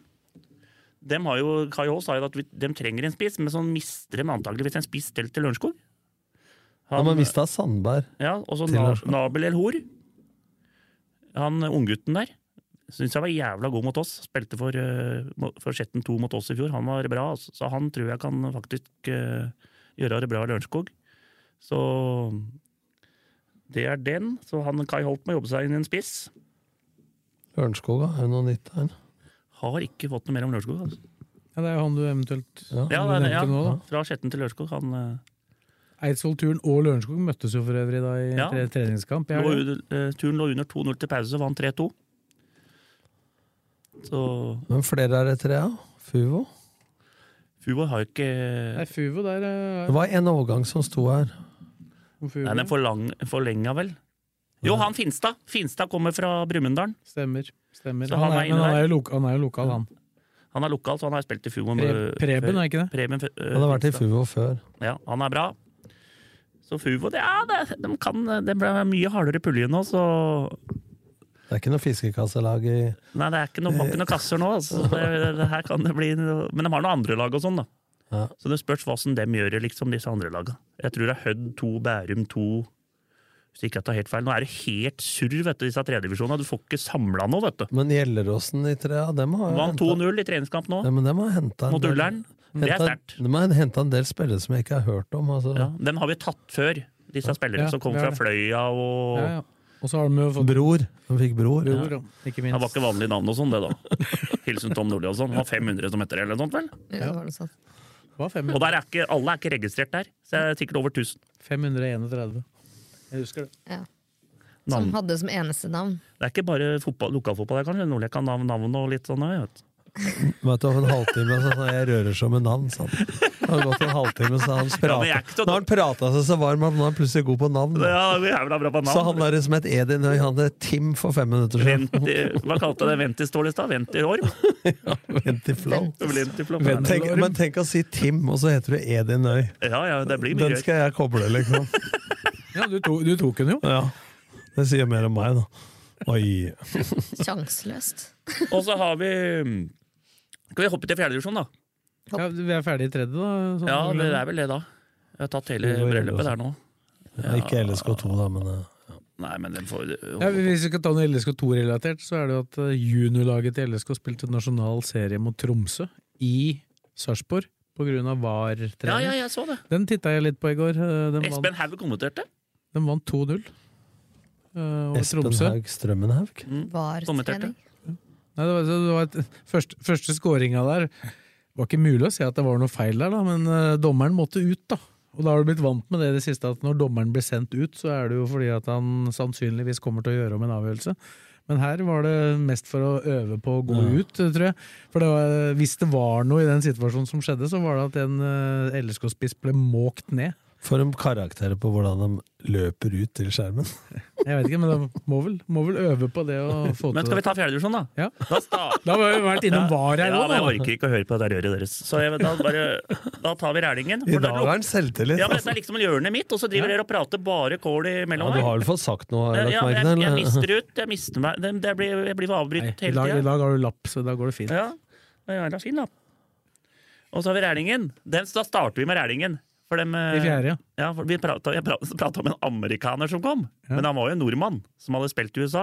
S3: Dem har jo, Kai Aas sa jo at vi, de trenger en spiss, men så mister de antakeligvis en spiss til til Lørenskog.
S4: Ja,
S3: Han-
S4: men visst er Sandberg
S3: Ja, og så
S4: til
S3: Na,
S4: Lørenskog.
S3: Nabel El Hor. Han eh, unggutten der. Syns jeg var jævla god mot oss. Spilte for, eh, mo- for Skjetten 2 mot oss i fjor. Han var bra, altså. så han tror jeg kan faktisk eh, gjøre det bra i Lørenskog. Så det er den. Så han Kai Holt må jobbe seg inn i en spiss.
S4: Ørnskog, er det noe nytt her?
S3: Har ikke fått noe mer om Lørenskog. Altså.
S2: Ja, det er jo han du eventuelt
S3: Ja,
S2: Du
S3: det er det,
S2: nevnte
S3: ja.
S2: nå, da.
S3: Fra Skjetten til Lørenskog. Han eh,
S2: Eidsvoll-turen og Lørenskog møttes jo for øvrig da i
S3: Ja.
S2: tre- treningskamp.
S3: lå,
S2: Ja,
S3: eh, turen lå under 2-0 til pause, vant 3-2. Så
S4: Men flere er det tre av? Fuvo?
S3: Fubor har jo ikke
S2: Nei, Fuvo der
S4: Det var en overgang som sto her.
S2: om
S3: Nei,
S2: Fuvo.
S3: den er for lang, forlenga, vel? Jo, han Finstad! Finstad kommer fra Brumunddal.
S2: Stemmer. stemmer.
S3: Så
S2: Han,
S3: han er
S2: er,
S3: inne
S2: men han
S3: der.
S2: er jo lokal, han. Er jo lokal, han.
S3: Han er lokal, så han har spilt i Fubor.
S2: Pre Preben, er ikke det?
S3: Preben eh,
S4: Han har vært i
S3: Finstad.
S4: Fuvo før.
S3: Ja, han er bra. Så Fuvo, det, ja, det, de kan, det ble mye hardere pulje nå, så
S4: Det er ikke noe fiskekasselag i
S3: Nei, det er ikke noe, var ikke noe kasser nå. Altså. Det, det her kan det bli noe. Men de har noen andre lag og sånn, da.
S4: Ja.
S3: Så det spørs hva som dem gjør, liksom, disse andre laga. Jeg tror det er Hødd 2, Bærum 2 Hvis ikke jeg tar helt feil. Nå er det helt surr, vet du, disse tredjedivisjonene. Du får ikke samla noe, vet du.
S4: Men Gjelleråsen i tre, ja, dem har
S3: Vant
S4: hentet-
S3: 2-0 i treningskamp nå,
S4: Ja, men dem har henta
S3: mot Ullern. Det er sterkt.
S4: De har henta en del spillere som jeg ikke har hørt om. Altså.
S3: Ja, dem har vi tatt før, disse spillerne
S2: Ja,
S3: som kom
S2: det er
S3: fra
S2: det.
S3: Fløya og
S2: Ja, ja. Og så har de jo fått
S4: Bror. De fikk bror.
S2: Bror, da, ikke
S3: Det var
S2: minst.
S3: ikke vanlig navn og sånn, det, da. Hilsen Tom Nordli og sånn. Det var 500 som heter det, eller noe sånt, vel?
S5: Ja, det var noe sånt.
S2: Det var fem-
S3: Og der er ikke, alle er ikke registrert der. Så det er sikkert over 1000.
S2: 531. Jeg husker det.
S5: Ja. Som
S3: Navn.
S5: hadde som eneste navn.
S3: Det er ikke bare fotball, lokalfotball her, kanskje. Nordlek kan navn, navn og litt sånn. jeg Vet.
S4: Vet du, over en halvtime så sa jeg 'jeg rører som en and'. sa han. Det har gått en halvtime, så
S3: Ja, men
S4: han
S3: jeg er
S4: pratet.
S3: ikke så-
S4: Nå har han prata seg så varm at nå er han plutselig god på navn.
S3: Ja, vi er vel da bra på
S4: Så han
S3: navn.
S4: der som het Edin Høy, han het Tim for fem minutter (laughs) siden.
S3: Vent, i- hva kalte det Ventistål i stad? Ventirorm?
S4: Vent i flow.
S3: Ventiflopp?
S4: Tenk, men tenk å si Tim, og så heter du Edin Øy.
S3: Ja, ja, det blir mye
S4: Den
S3: rør.
S4: skal jeg koble, liksom.
S2: Ja, du tok, du tok den jo.
S4: Ja. Det sier mer om meg, da. Oi.
S5: Sjanseløst.
S3: Og så har vi Skal vi hoppe til fjerdedivisjon, da?
S2: Ja, vi er ferdig i tredje, da. sånn
S3: Ja, det
S2: noenlunde.
S3: er vel det, da. Jeg har tatt hele
S4: Vi går inn,
S3: bryllupet der nå.
S4: Ikke LSK2, da, men eh,
S3: Nei, men den får
S2: Ja, hvis vi skal ta noe LSK 2-relatert, så er det jo at eh, juniorlaget til LSK spilte nasjonal serie mot Tromsø i Sarpsborg pga.
S3: Ja, ja,
S2: VAR-trening.
S3: jeg så det.
S2: Den titta jeg litt på i går. eh, Den vant,
S3: Espen Haug kommenterte.
S2: den vant 2-0 eh, over
S4: Espen
S2: Tromsø.
S4: Haug Strømmenhaug.
S5: Var
S3: Kommenterte.
S5: trening.
S2: Nei, det var, det var et, første, første skåringa der Det var ikke mulig å se at det var noe feil der, da, men eh, dommeren måtte ut, da. Og da har du blitt vant med det i det siste, at når dommeren blir sendt ut, så er det jo fordi at han sannsynligvis kommer til å gjøre om en avgjørelse. Men her var det mest for å øve på å gå ut, eh, tror jeg. For det var, eh, hvis det var noe i den situasjonen som skjedde, så var det at en eh, LSK-spiss ble måkt ned.
S4: For en karakter på hvordan de løper ut til skjermen.
S2: Jeg vet ikke, men da må vel, må vel øve på det å få
S3: Men
S2: til
S3: skal vi
S2: det.
S3: ta fjerdedivisjon, da?
S2: Ja.
S3: Da sta-
S2: Da har vi vært (laughs) innom VAR her
S3: Ja,
S2: òg,
S3: men jeg
S2: da.
S3: orker ikke å høre på det der røret deres. Så jeg, da, bare, da tar vi Rælingen.
S4: (laughs) I
S3: For da
S4: dag er han selvtillit.
S3: Ja, men
S4: altså.
S3: Dette er liksom hjørnet mitt, og så driver dere og prater bare kål
S4: Ja,
S3: imellom
S4: du
S3: her.
S4: har vel fått sagt noe? har jeg
S3: Ja,
S4: lagt merke
S3: jeg,
S4: til,
S3: jeg
S4: eller?
S3: mister ut. Jeg mister meg. Det, det blir, jeg blir
S2: Nei,
S3: avbrytet
S2: i, dag, I
S3: hele tida.
S2: dag har du lapp, så da går det fint.
S3: Ja, det er da fin, da. Og så har vi Rælingen. Den, da starter vi med Rælingen. For dem,
S2: I
S3: eh,
S2: fjerde, ja.
S3: Ja, for vi pratet, jeg pratet, pratet om en amerikaner som kom, men han var jo en nordmann som hadde spilt i USA.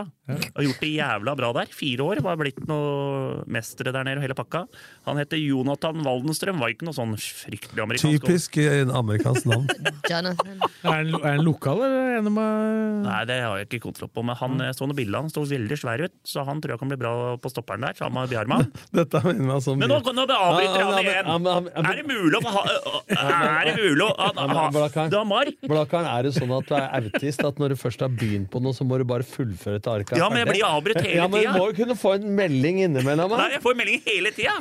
S3: Og gjort det jævla bra der. Fire år, var blitt noe mestere der nede og hele pakka. Han heter Jonathan Waldenstrøm, var ikke noe sånn fryktelig amerikansk.
S4: (laughs) Typisk eh, amerikansk
S3: (laughs)
S4: navn.
S5: Jonathan.
S2: Er han, er han lokal, eller er han med
S3: Nei, det har jeg ikke kontroll på, men han jeg så noen bilder, han sto veldig svær ut, så han tror jeg kan bli bra på stopperen der, sammen med
S4: (laughs)
S3: Bjarman.
S4: Dette minner meg sånn
S3: Men nå, nå avbryter han
S4: Ja, ja, men- ja,
S3: igjen!
S4: men- ja, men-
S3: Er det mulig å ha Er det mulig å
S4: Ja, men, Blakkaren.
S3: Du har mark?
S4: Blakkaren, er det sånn at du er autist? At når du først har begynt på noe, så må du bare fullføre til arket? er
S3: Ja, men jeg
S4: ferdig?
S3: blir avbrutt hele
S4: Ja, men du
S3: tiden.
S4: må jo kunne få en melding innimellom. da.
S3: Nei, jeg får meldinger hele tida!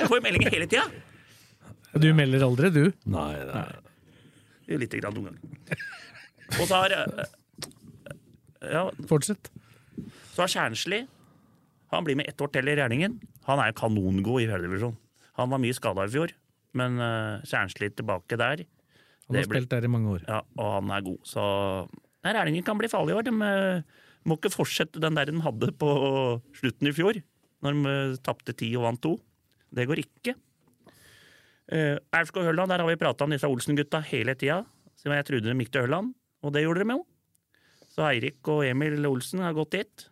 S3: Jeg får meldinger hele tida!
S2: Du melder aldri, du?
S4: Nei, nei.
S3: Litt grann noen ganger. Og så har eh, Ja,
S2: Fortsett.
S3: så har Kjernsli Han blir med ett år til i regningen. Han er kanongod i fjerdedivisjon. Han var mye skada i fjor, men eh, Kjernsli tilbake der.
S2: Han har
S3: Det blir-
S2: spilt der i mange år.
S3: Ja, og han er god, så Nei, Rælingen kan bli farlig i år. De eh, må ikke fortsette den der de hadde på slutten i fjor, når de eh, tapte ti og vant to. Det går ikke. Eh, Aurskog Hølland, der har vi prata om disse Olsen-gutta hele tida. Siden jeg trodde de gikk til Hølland, og det gjorde de jo. Så Eirik og Emil Olsen har gått dit.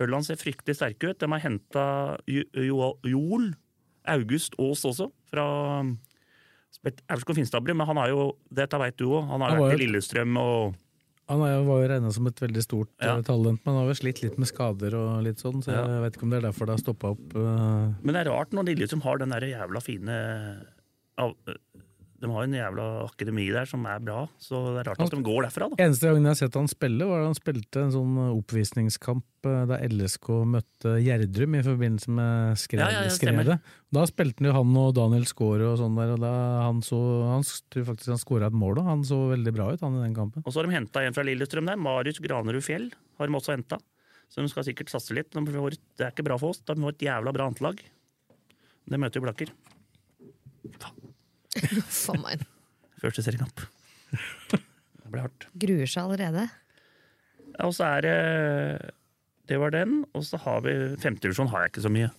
S3: Hølland ser fryktelig sterke ut. De har henta Joel August Aas også, fra spilt Aurskog Finstadbru, men han er jo dette vet du òg. Han har
S2: Han var jo-
S3: vært i Lillestrøm og
S2: Han er jo, var jo regna som et veldig stort
S3: Ja.
S2: eh, talent, men han har vel slitt litt med skader og litt sånn, så
S3: Ja.
S2: jeg vet ikke om det er derfor det har stoppa opp. eh.
S3: Men det er rart når Lillestrøm har den der jævla fine av- De har en jævla akademi der som er bra, så det er rart at de går derfra, da.
S2: Eneste gangen jeg har sett han spille, var da han spilte en sånn oppvisningskamp eh, da LSK møtte Gjerdrum i forbindelse med skred,
S3: Ja, ja, ja, stemmer.
S2: skredet. Da spilte han jo han og Daniel Skaare og sånn der, og da han så Han s- tror faktisk han skåra et mål, og han så veldig bra ut, han i den kampen.
S3: Og så har de henta en fra Lillestrøm der, Marius Granerud Fjell, har de også henta. Så de skal sikkert satse litt. De får, det er ikke bra for oss. De får et jævla bra antelag. Det møter jo Blakker.
S5: For meg.
S3: Første seriekamp. Det blir hardt.
S5: Gruer seg allerede.
S3: Ja, og så er det Det var den. Og så har vi Femtedivisjon har jeg ikke så mye.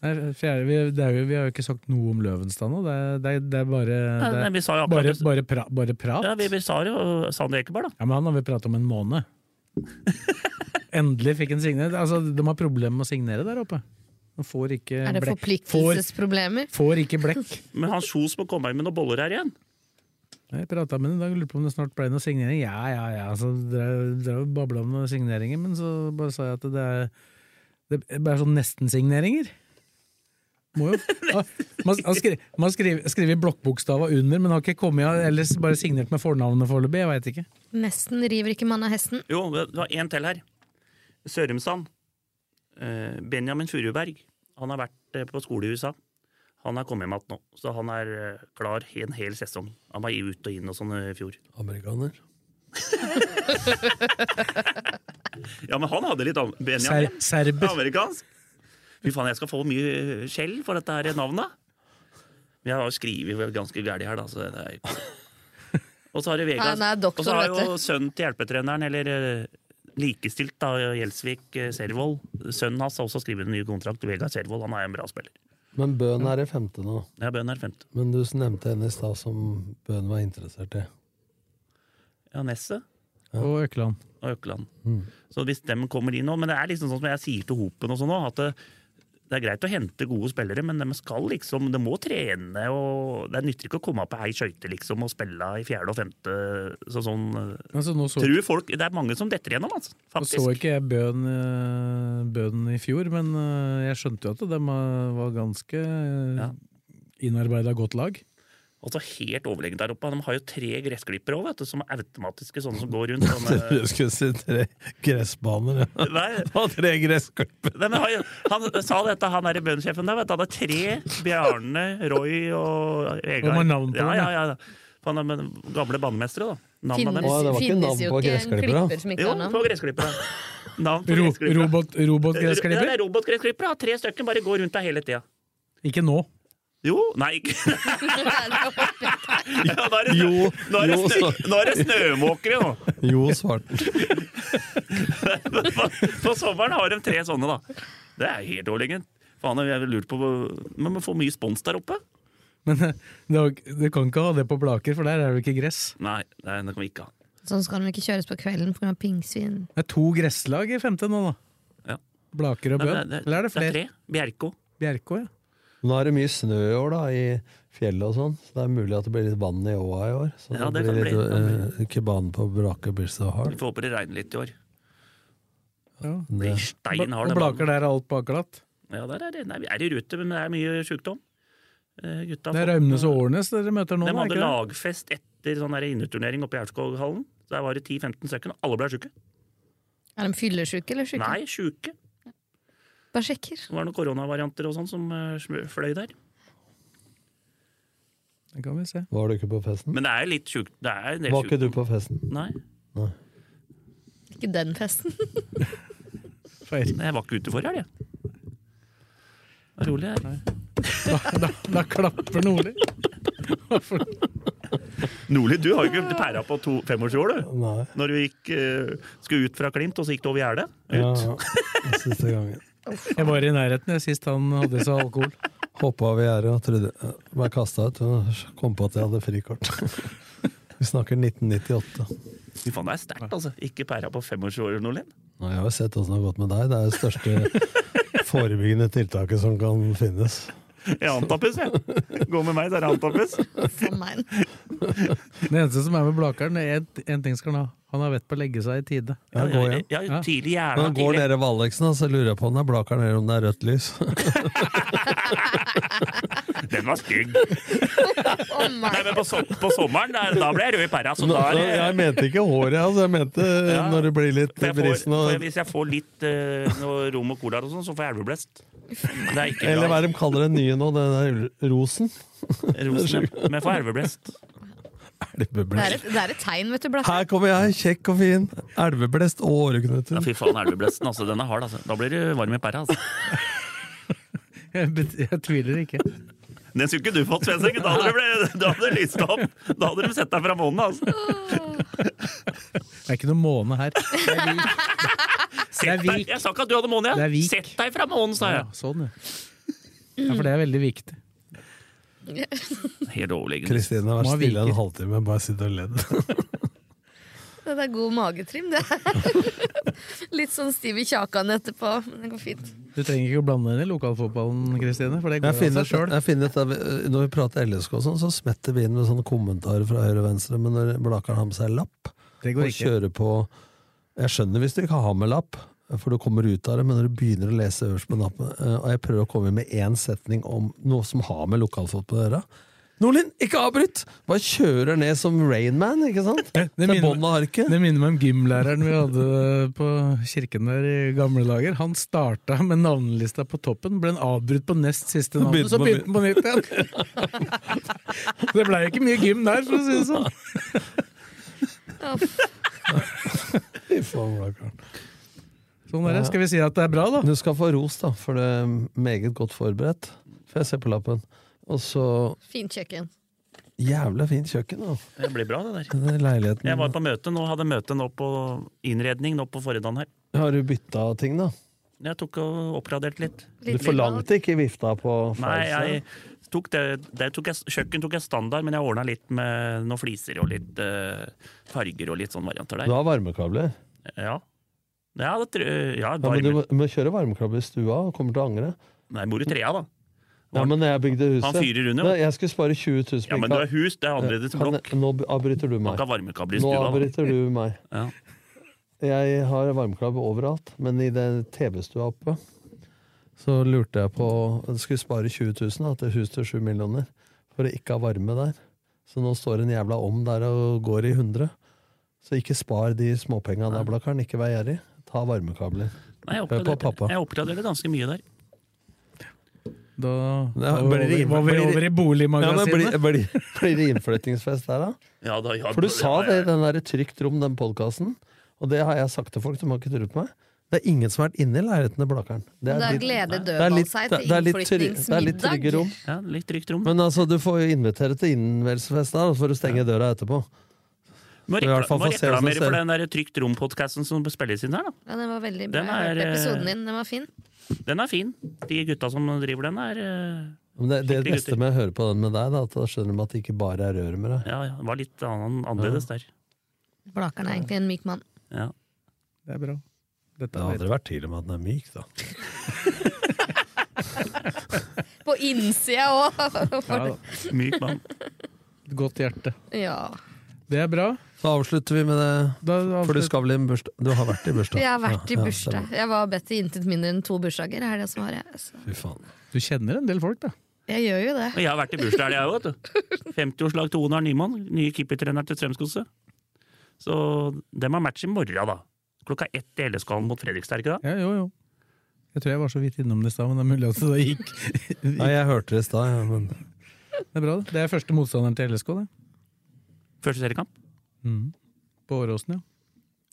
S2: Nei, fjerde, vi, det er jo, vi har jo ikke sagt noe om Løvenstad nå, det er, det er, det er bare,
S3: Nei,
S2: det
S3: nei,
S2: er
S3: vi sa jo akkurat
S2: bare, bare, pra, bare prat.
S3: Ja, vi, vi sa jo Sander Ekeberg, da.
S2: Ja, men han har vi pratet om en
S3: (laughs)
S2: måned. Endelig fikk han signert. Altså, de har problemer med å signere der oppe. De får ikke
S5: Er det
S2: blekk. Får,
S5: forpliktelsesproblemer?
S2: får ikke blekk.
S3: Men han Kjos må komme inn med noen boller her igjen.
S2: Jeg prata med ham i dag, lurer på om det snart ble noe signering. Ja, ja, ja. Så drev drev og babla om noen signeringer, men så bare sa jeg at det er det er bare sånn nesten-signeringer. Må
S3: (laughs)
S2: jo ja, Man, han skri, man skriver, skriver blokkbokstava under, men har ikke kommet av, ellers bare signert med fornavnet foreløpig. Jeg veit ikke.
S5: Nesten river ikke mann av hesten.
S3: Jo, det var én til her. Sørumsand. Eh, Benjamin Furuberg. Han har vært eh, på skole i USA. Han er kommet hjem igjen nå, så han er eh, klar i en hel sesong. Han var ut og inn og sånn eh, i fjor.
S4: Amerikaner.
S3: Ja, men han hadde litt an-
S2: Ser,
S3: Benjamin.
S2: serber.
S3: Amerikansk. Fy faen, jeg skal få mye eh, skjell for dette her navnet. Men jeg har jo skrevet vel ganske gærent her, da, så det er ikke Og så har du Vegard.
S5: Han er doktor,
S3: og så har
S5: vet
S3: jo sønnen til hjelpetreneren, eller eh, likestilt, da, Gjelsvik eh, Servold. Sønnen hans har også skrevet en ny kontrakt. Vegard Servold, han er en bra spiller.
S4: Men Bøhn er i femte nå.
S3: Ja, Bøhn er femte.
S4: Men du nevnte henne i stad som Bøhn var interessert i.
S3: Ja, Nesset
S2: Og Økeland.
S3: og Økeland.
S2: Mm.
S3: Så hvis dem kommer inn nå Men det er liksom sånn som jeg sier til Hopen og sånn nå, at det, det er greit å hente gode spillere, men de skal liksom De må trene, og det nytter ikke å komme opp på ei skøyte liksom, og spille i fjerde og femte så sånn eh,
S2: Altså, nå så
S3: Tror folk Det er mange som detter gjennom, altså.
S2: Nå så
S3: Faktisk.
S2: ikke jeg bøn, eh, bøn i fjor, men eh, jeg skjønte jo at de eh, var ganske ja.
S3: Ja.
S2: innarbeida godt lag.
S3: Og så Altså helt overlegen der oppe. De har jo tre gressklippere òg, vet du, som er automatiske, sånne som går rundt. Sånne,
S2: (laughs)
S4: Du skulle si tre gressbaner. ja. (laughs)
S3: nei,
S4: Og tre gressklipper.
S3: Nei, men han, han sa dette, han der bønnsjefen der, vet du. Han har tre Bjarne, Roy og Vegard.
S2: Og med navn på
S3: ja,
S2: dem,
S3: ja, ja. Han er med gamle banemestere, da. Navnet
S5: Finnes,
S3: deres.
S4: Å, det var ikke
S5: finnes
S4: navn
S5: jo
S4: på
S5: ikke en
S4: gressklippere, da.
S5: klipper som ikke
S3: Jo,
S5: har
S3: på
S5: (laughs) navn.
S3: gressklippere. Navn på
S2: Ro,
S3: gressklippere.
S2: robot,
S3: Ja, det
S2: robotgressklippere?
S3: er robotgressklippere. da. Tre stykker bare går rundt der hele tida.
S2: Ikke nå.
S3: Jo, nei (laughs) ikke. (laughs) Ja, Nå er det, snø,
S4: Jo,
S3: nå er det,
S4: jo,
S3: snø,
S4: så-
S3: nå er det snømåkere nå.
S4: Jo Svarten.
S3: På, på sommeren har de tre sånne, da. Det er helt årlegent. Faen, jeg har lurt på hvor- Men man får mye spons der oppe.
S2: (laughs) Men eh, det, har ikke- du kan ikke ha det på Blaker, for der er det jo ikke gress.
S3: Nei, nei, det kan vi ikke ha.
S5: Sånn skal de ikke kjøres på kvelden pga. pingsvin.
S2: Det er to gresslag i femte nå, da.
S3: Ja.
S2: Blaker og
S3: Nei,
S2: Bø.
S3: men det-
S2: Eller er det
S3: Det er
S2: flere?
S3: tre. Bjerko.
S2: Bjerkå, ja.
S4: Nå er det mye snø i år, da, i fjellet og sånn. Så det er mulig at det blir litt vann i åa i år. Så
S3: Ja,
S4: det,
S3: det kan
S4: blir
S3: bli, det kan
S4: litt, eh, ikke banen på Braker blir så
S3: Vi
S4: hard.
S3: får håpe det regner litt i år.
S2: ja.
S3: Blir
S4: Det,
S3: stein hard
S2: Og
S3: den
S2: Blaker
S3: banen.
S2: der er alt bakglatt.
S3: Ja, der er det. Nei, vi er i rute, men det er mye sjukdom. Eh, gutta
S2: Det
S3: har
S2: er
S3: fått-
S2: Raumnes og Årnes dere møter nå,
S3: De
S2: da,
S3: hadde
S2: ikke det?
S3: lagfest etter sånn der inneturnering oppe i Aurskog-hallen. Der var det 10-15 stykker, og alle ble sjuke.
S5: Er de fyllesyke eller syke?
S3: Nei, sjuke.
S5: Bare sjekker.
S3: Det var noen koronavarianter og sånn som eh, smø- fløy der.
S2: Det kan vi se.
S4: var du ikke på festen?
S3: Men det er litt sjukt. Det er en del
S4: Var ikke
S3: sjukt.
S4: du på festen?
S3: Nei,
S5: Ikke den festen.
S2: Feil.
S3: jeg var ikke ute for her, jeg. Det er Rolig her.
S2: Da, da klapper Nordli.
S3: Nordli, du har jo ikke pæra på to- 25 år, du.
S4: Nei.
S3: Når vi gikk, eh, skulle ut fra Klimt, og så gikk det over gjerdet.
S4: Ja, ja. Siste gangen.
S2: Jeg var i nærheten jeg, sist han hadde seg alkohol.
S4: Hoppa over gjerdet og trodde eh, ble kasta ut. Og kom på at jeg hadde
S3: (laughs)
S4: frikort. Vi snakker 1998.
S3: Fy faen, det er sterkt, altså. Ikke pæra på 25 år,
S4: (laughs)
S3: Nordlien.
S4: Nå, jeg har jo sett åssen det har gått med deg. Det er det
S3: (laughs)
S4: største forebyggende tiltaket som kan finnes.
S3: Jeg er antappes, jeg. Gå med meg, så er det antappes.
S5: (laughs) Faen meg.
S2: Det eneste som er med Blakeren, er én ting skal han ha. Han har vett på å legge seg i tide.
S4: Ja, gå igjen.
S3: Ja, ja, tidlig
S4: Nå
S3: gjerne.
S4: går
S3: tidlig.
S4: dere ved Aleksen, da, så lurer jeg på om det er Blakeren eller om det er rødt
S3: (laughs)
S4: lys.
S3: Den var stygg.
S5: Å
S3: Nei,
S5: nei.
S3: men på, so på sommeren, da, da ble jeg rød i pæra. Så
S4: Nå,
S3: da
S4: nå,
S3: er det
S4: jeg mente ikke håret, altså. Jeg mente
S3: Ja.
S4: når det blir litt
S3: For jeg får,
S4: brisen
S3: for jeg,
S4: og
S3: hvis jeg får litt eh, noe rom og cola, og sånn, så får jeg elveblest. Det er ikke
S4: Eller hva
S3: bra.
S4: er det de kaller den nye nå, den der ul- rosen?
S3: (laughs) Rosen, ja. Men jeg får elveblest.
S5: Det er, et, det er et tegn, vet du, Blakke.
S4: Her kommer jeg, kjekk og fin. Elveblest og
S3: Ja,
S4: åreknuter.
S3: fy faen, elveblesten. Altså, den er hard. Altså. Da blir du varm i pæra. Altså.
S2: (laughs) Jeg, bet- jeg tviler ikke.
S3: Den skulle ikke du fått, Svenseng. Da hadde det ble- da hadde det lyst opp. Da hadde de sett deg fra månen. Altså.
S2: Det er ikke noen måne her. Det
S3: (laughs)
S2: er vi.
S3: Sett
S2: Det er
S3: deg.
S2: vik.
S3: Jeg sa ikke at du hadde måne,
S2: Det er
S3: jeg.
S2: vik.
S3: Sett deg fra månen, sa
S2: Ja,
S3: jeg.
S2: sånn, ja. ja. For det er veldig viktig.
S3: Helt overlegen.
S4: Kristine har
S2: Må
S4: vært
S2: ha
S4: stille en
S2: viker.
S4: halvtime, bare sitter og ledd.
S5: Det er god magetrim, det. (laughs) Litt sånn stiv i kjakan etterpå. Men det går fint.
S2: Du trenger ikke å blande deg inn i lokalfotballen, Kristine. For det går
S4: Jeg
S2: av
S4: finner,
S2: seg sjøl.
S4: jeg finner ut at vi- eh, Når vi prater LSK og sånn, så smetter vi inn med sånne kommentarer fra høyre og venstre, men når Blakeren har med seg lapp
S2: Det
S4: og
S2: går ikke.
S4: kjører på Jeg skjønner hvis du ikke har med lapp, for du kommer ut av det, men når du begynner å lese øverst på lappen, eh, og jeg prøver å komme med én setning om noe som har med lokalfotball å gjøre Nordlien, ikke avbryt! Bare kjører ned som Rainman, ikke sant?
S2: Det
S4: Til
S2: minner-
S4: bånn av arket.
S2: Det minner meg om gymlæreren vi hadde på kirken der i gamle dager. Han starta med navnelista på toppen, ble han avbrutt på nest siste navn,
S4: Begynte
S2: så
S4: på
S2: begynte han på nytt igjen.
S4: (laughs)
S2: Det blei ikke mye gym der, for å si det sånn.
S4: Fy faen, Blakeren.
S2: Sånn er det. Skal vi si at det er bra, da?
S4: Du skal få ros, da, for det er meget godt forberedt. Får jeg se på lappen. Og så
S5: Fint kjøkken.
S4: Jævla fint kjøkken, da.
S3: Det blir bra, det der.
S4: Den leiligheten.
S3: Jeg var på møte nå, hadde møte nå på innredning nå på formiddagen her.
S4: Har du bytta ting, da?
S3: Jeg tok og oppgraderte litt.
S4: Du
S5: Litt
S4: forlangte ikke vifta på
S3: Nei, jeg
S4: Farsa?
S3: tok det, det tok jeg, Kjøkken tok jeg standard, men jeg ordna litt med noen fliser og litt eh, farger og litt sånne varianter
S4: Du
S3: der.
S4: har varmekabler.
S3: Ja, ja, det, tror- ja
S4: Ja, men
S3: varme.
S4: du må- må kjøre varmekabler i stua og kommer til å angre.
S3: Nei, bor i trea, da.
S4: Ja, men når jeg bygde
S3: Han
S4: huset
S3: fyrer under.
S4: Nei, Jeg skulle spare 20 000
S3: Ja, men du har hus, det er annerledes
S4: Kan
S3: blokk.
S4: jeg- Nå b- avbryter du
S3: Man
S4: meg.
S3: kan ha varmekabler i stua.
S4: Nå
S3: da.
S4: avbryter du meg.
S3: Ja.
S4: Jeg har varmekabler overalt, men i den TV-stua oppe så lurte jeg på Jeg skulle spare 20 000 da, til hus til 7 millioner for å ikke ha varme der. Så nå står en jævla om der og går i 100. Så ikke spar de småpenga der, Blakkaren. Ikke vær gjerrig. Ta varmekabler.
S3: Nei, jeg
S4: Hør på pappa.
S3: oppgraderte- jeg oppgraderte ganske mye der.
S2: Da
S4: Ja,
S2: var vi
S4: blir det-
S2: over, var vi
S4: blir det-
S2: over i
S4: blir,
S2: boligmagasinet.
S4: det innflyttingsfest der, da?
S3: Ja, da, ja,
S4: For du
S3: da-
S4: sa det i den der Trygt rom, den podkasten. Og det har jeg sagt til folk, de har ikke tro på meg. Det er ingen som har vært inne i leiligheten til Blakkaren. Det
S5: Da
S4: litt-
S5: gleder
S4: det er
S5: dødball
S4: litt-
S5: seg
S4: det- det er
S5: til
S4: litt tryg- det er litt trygge
S5: innflyttingsmiddag.
S4: rom.
S3: Ja, litt trygt rom.
S4: Men altså, du får jo invitere til innvielsesfest der, for å stenge døra etterpå.
S3: Må
S4: i hvert
S3: rekla-
S4: fall
S3: må
S4: få se hvordan det
S3: reklamere for
S4: ser.
S3: den der Trygt rom-podkasten som spilles inn der, da.
S5: Ja, den var veldig bra.
S3: Den
S5: Jeg
S3: er,
S5: hørte
S3: eh,
S5: episoden din, den var fin.
S3: Den er fin. De gutta som driver den, er eh,
S4: Men det, det
S3: Skikkelig
S4: neste med å høre på den med deg, da, at da skjønner de at det ikke bare er rør med deg.
S3: Ja, ja, det var litt annen, annerledes der.
S5: Blakeren er egentlig en myk mann.
S3: Ja.
S2: Det er bra. Dette
S4: Det
S2: er
S4: hadde vært tvil om at den er myk, da.
S5: På innsida
S2: ja,
S5: (laughs) òg!
S2: da.
S3: Myk mann.
S2: et godt hjerte.
S5: Ja.
S2: Det er bra.
S4: Så avslutter vi med det.
S2: Da,
S4: For du skal vel i en bursdag? Du har vært i bursdag?
S5: Jeg har vært i
S4: Ja, ja,
S5: bursdag.
S4: stemmer.
S5: Jeg var bedt i intet mindre enn to bursdager, er det svaret. Så
S4: Fy faen.
S2: du kjenner en del folk, da.
S5: jeg gjør jo det.
S3: Og jeg har vært i bursdag, jeg òg, vet du. 50-årslag til Onar Nyman, nye keepertrener til Strømsgodset. Så dem har match i morgen, da. Klokka ett i LSK-hallen mot Fredrikstad, er det ikke det?
S2: Ja, jo, jo. Jeg tror jeg var så vidt innom det i stad, men det er mulig at det gikk.
S4: Nei, jeg hørte det i stad, ja, men
S2: Det er bra, det. Det er første motstanderen til LSK, det.
S3: Første seriekamp.
S2: Mm. På Åråsen, ja.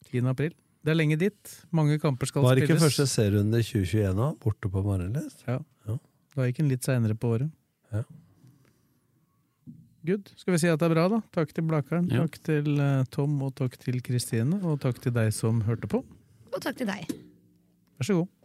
S2: 10. april. Det er lenge dit. Mange kamper skal
S4: Var det ikke
S2: spilles.
S4: første serierunde i 2021 òg? Borte på Marienlyst?
S2: Da gikk den litt seinere på året.
S4: Ja.
S2: Good. Skal vi si at det er bra, da? Takk til Blakeren,
S3: Ja.
S2: takk til eh, Tom, og takk til Kristine, og takk til deg som hørte på.
S5: Og takk til deg.
S2: Vær så god.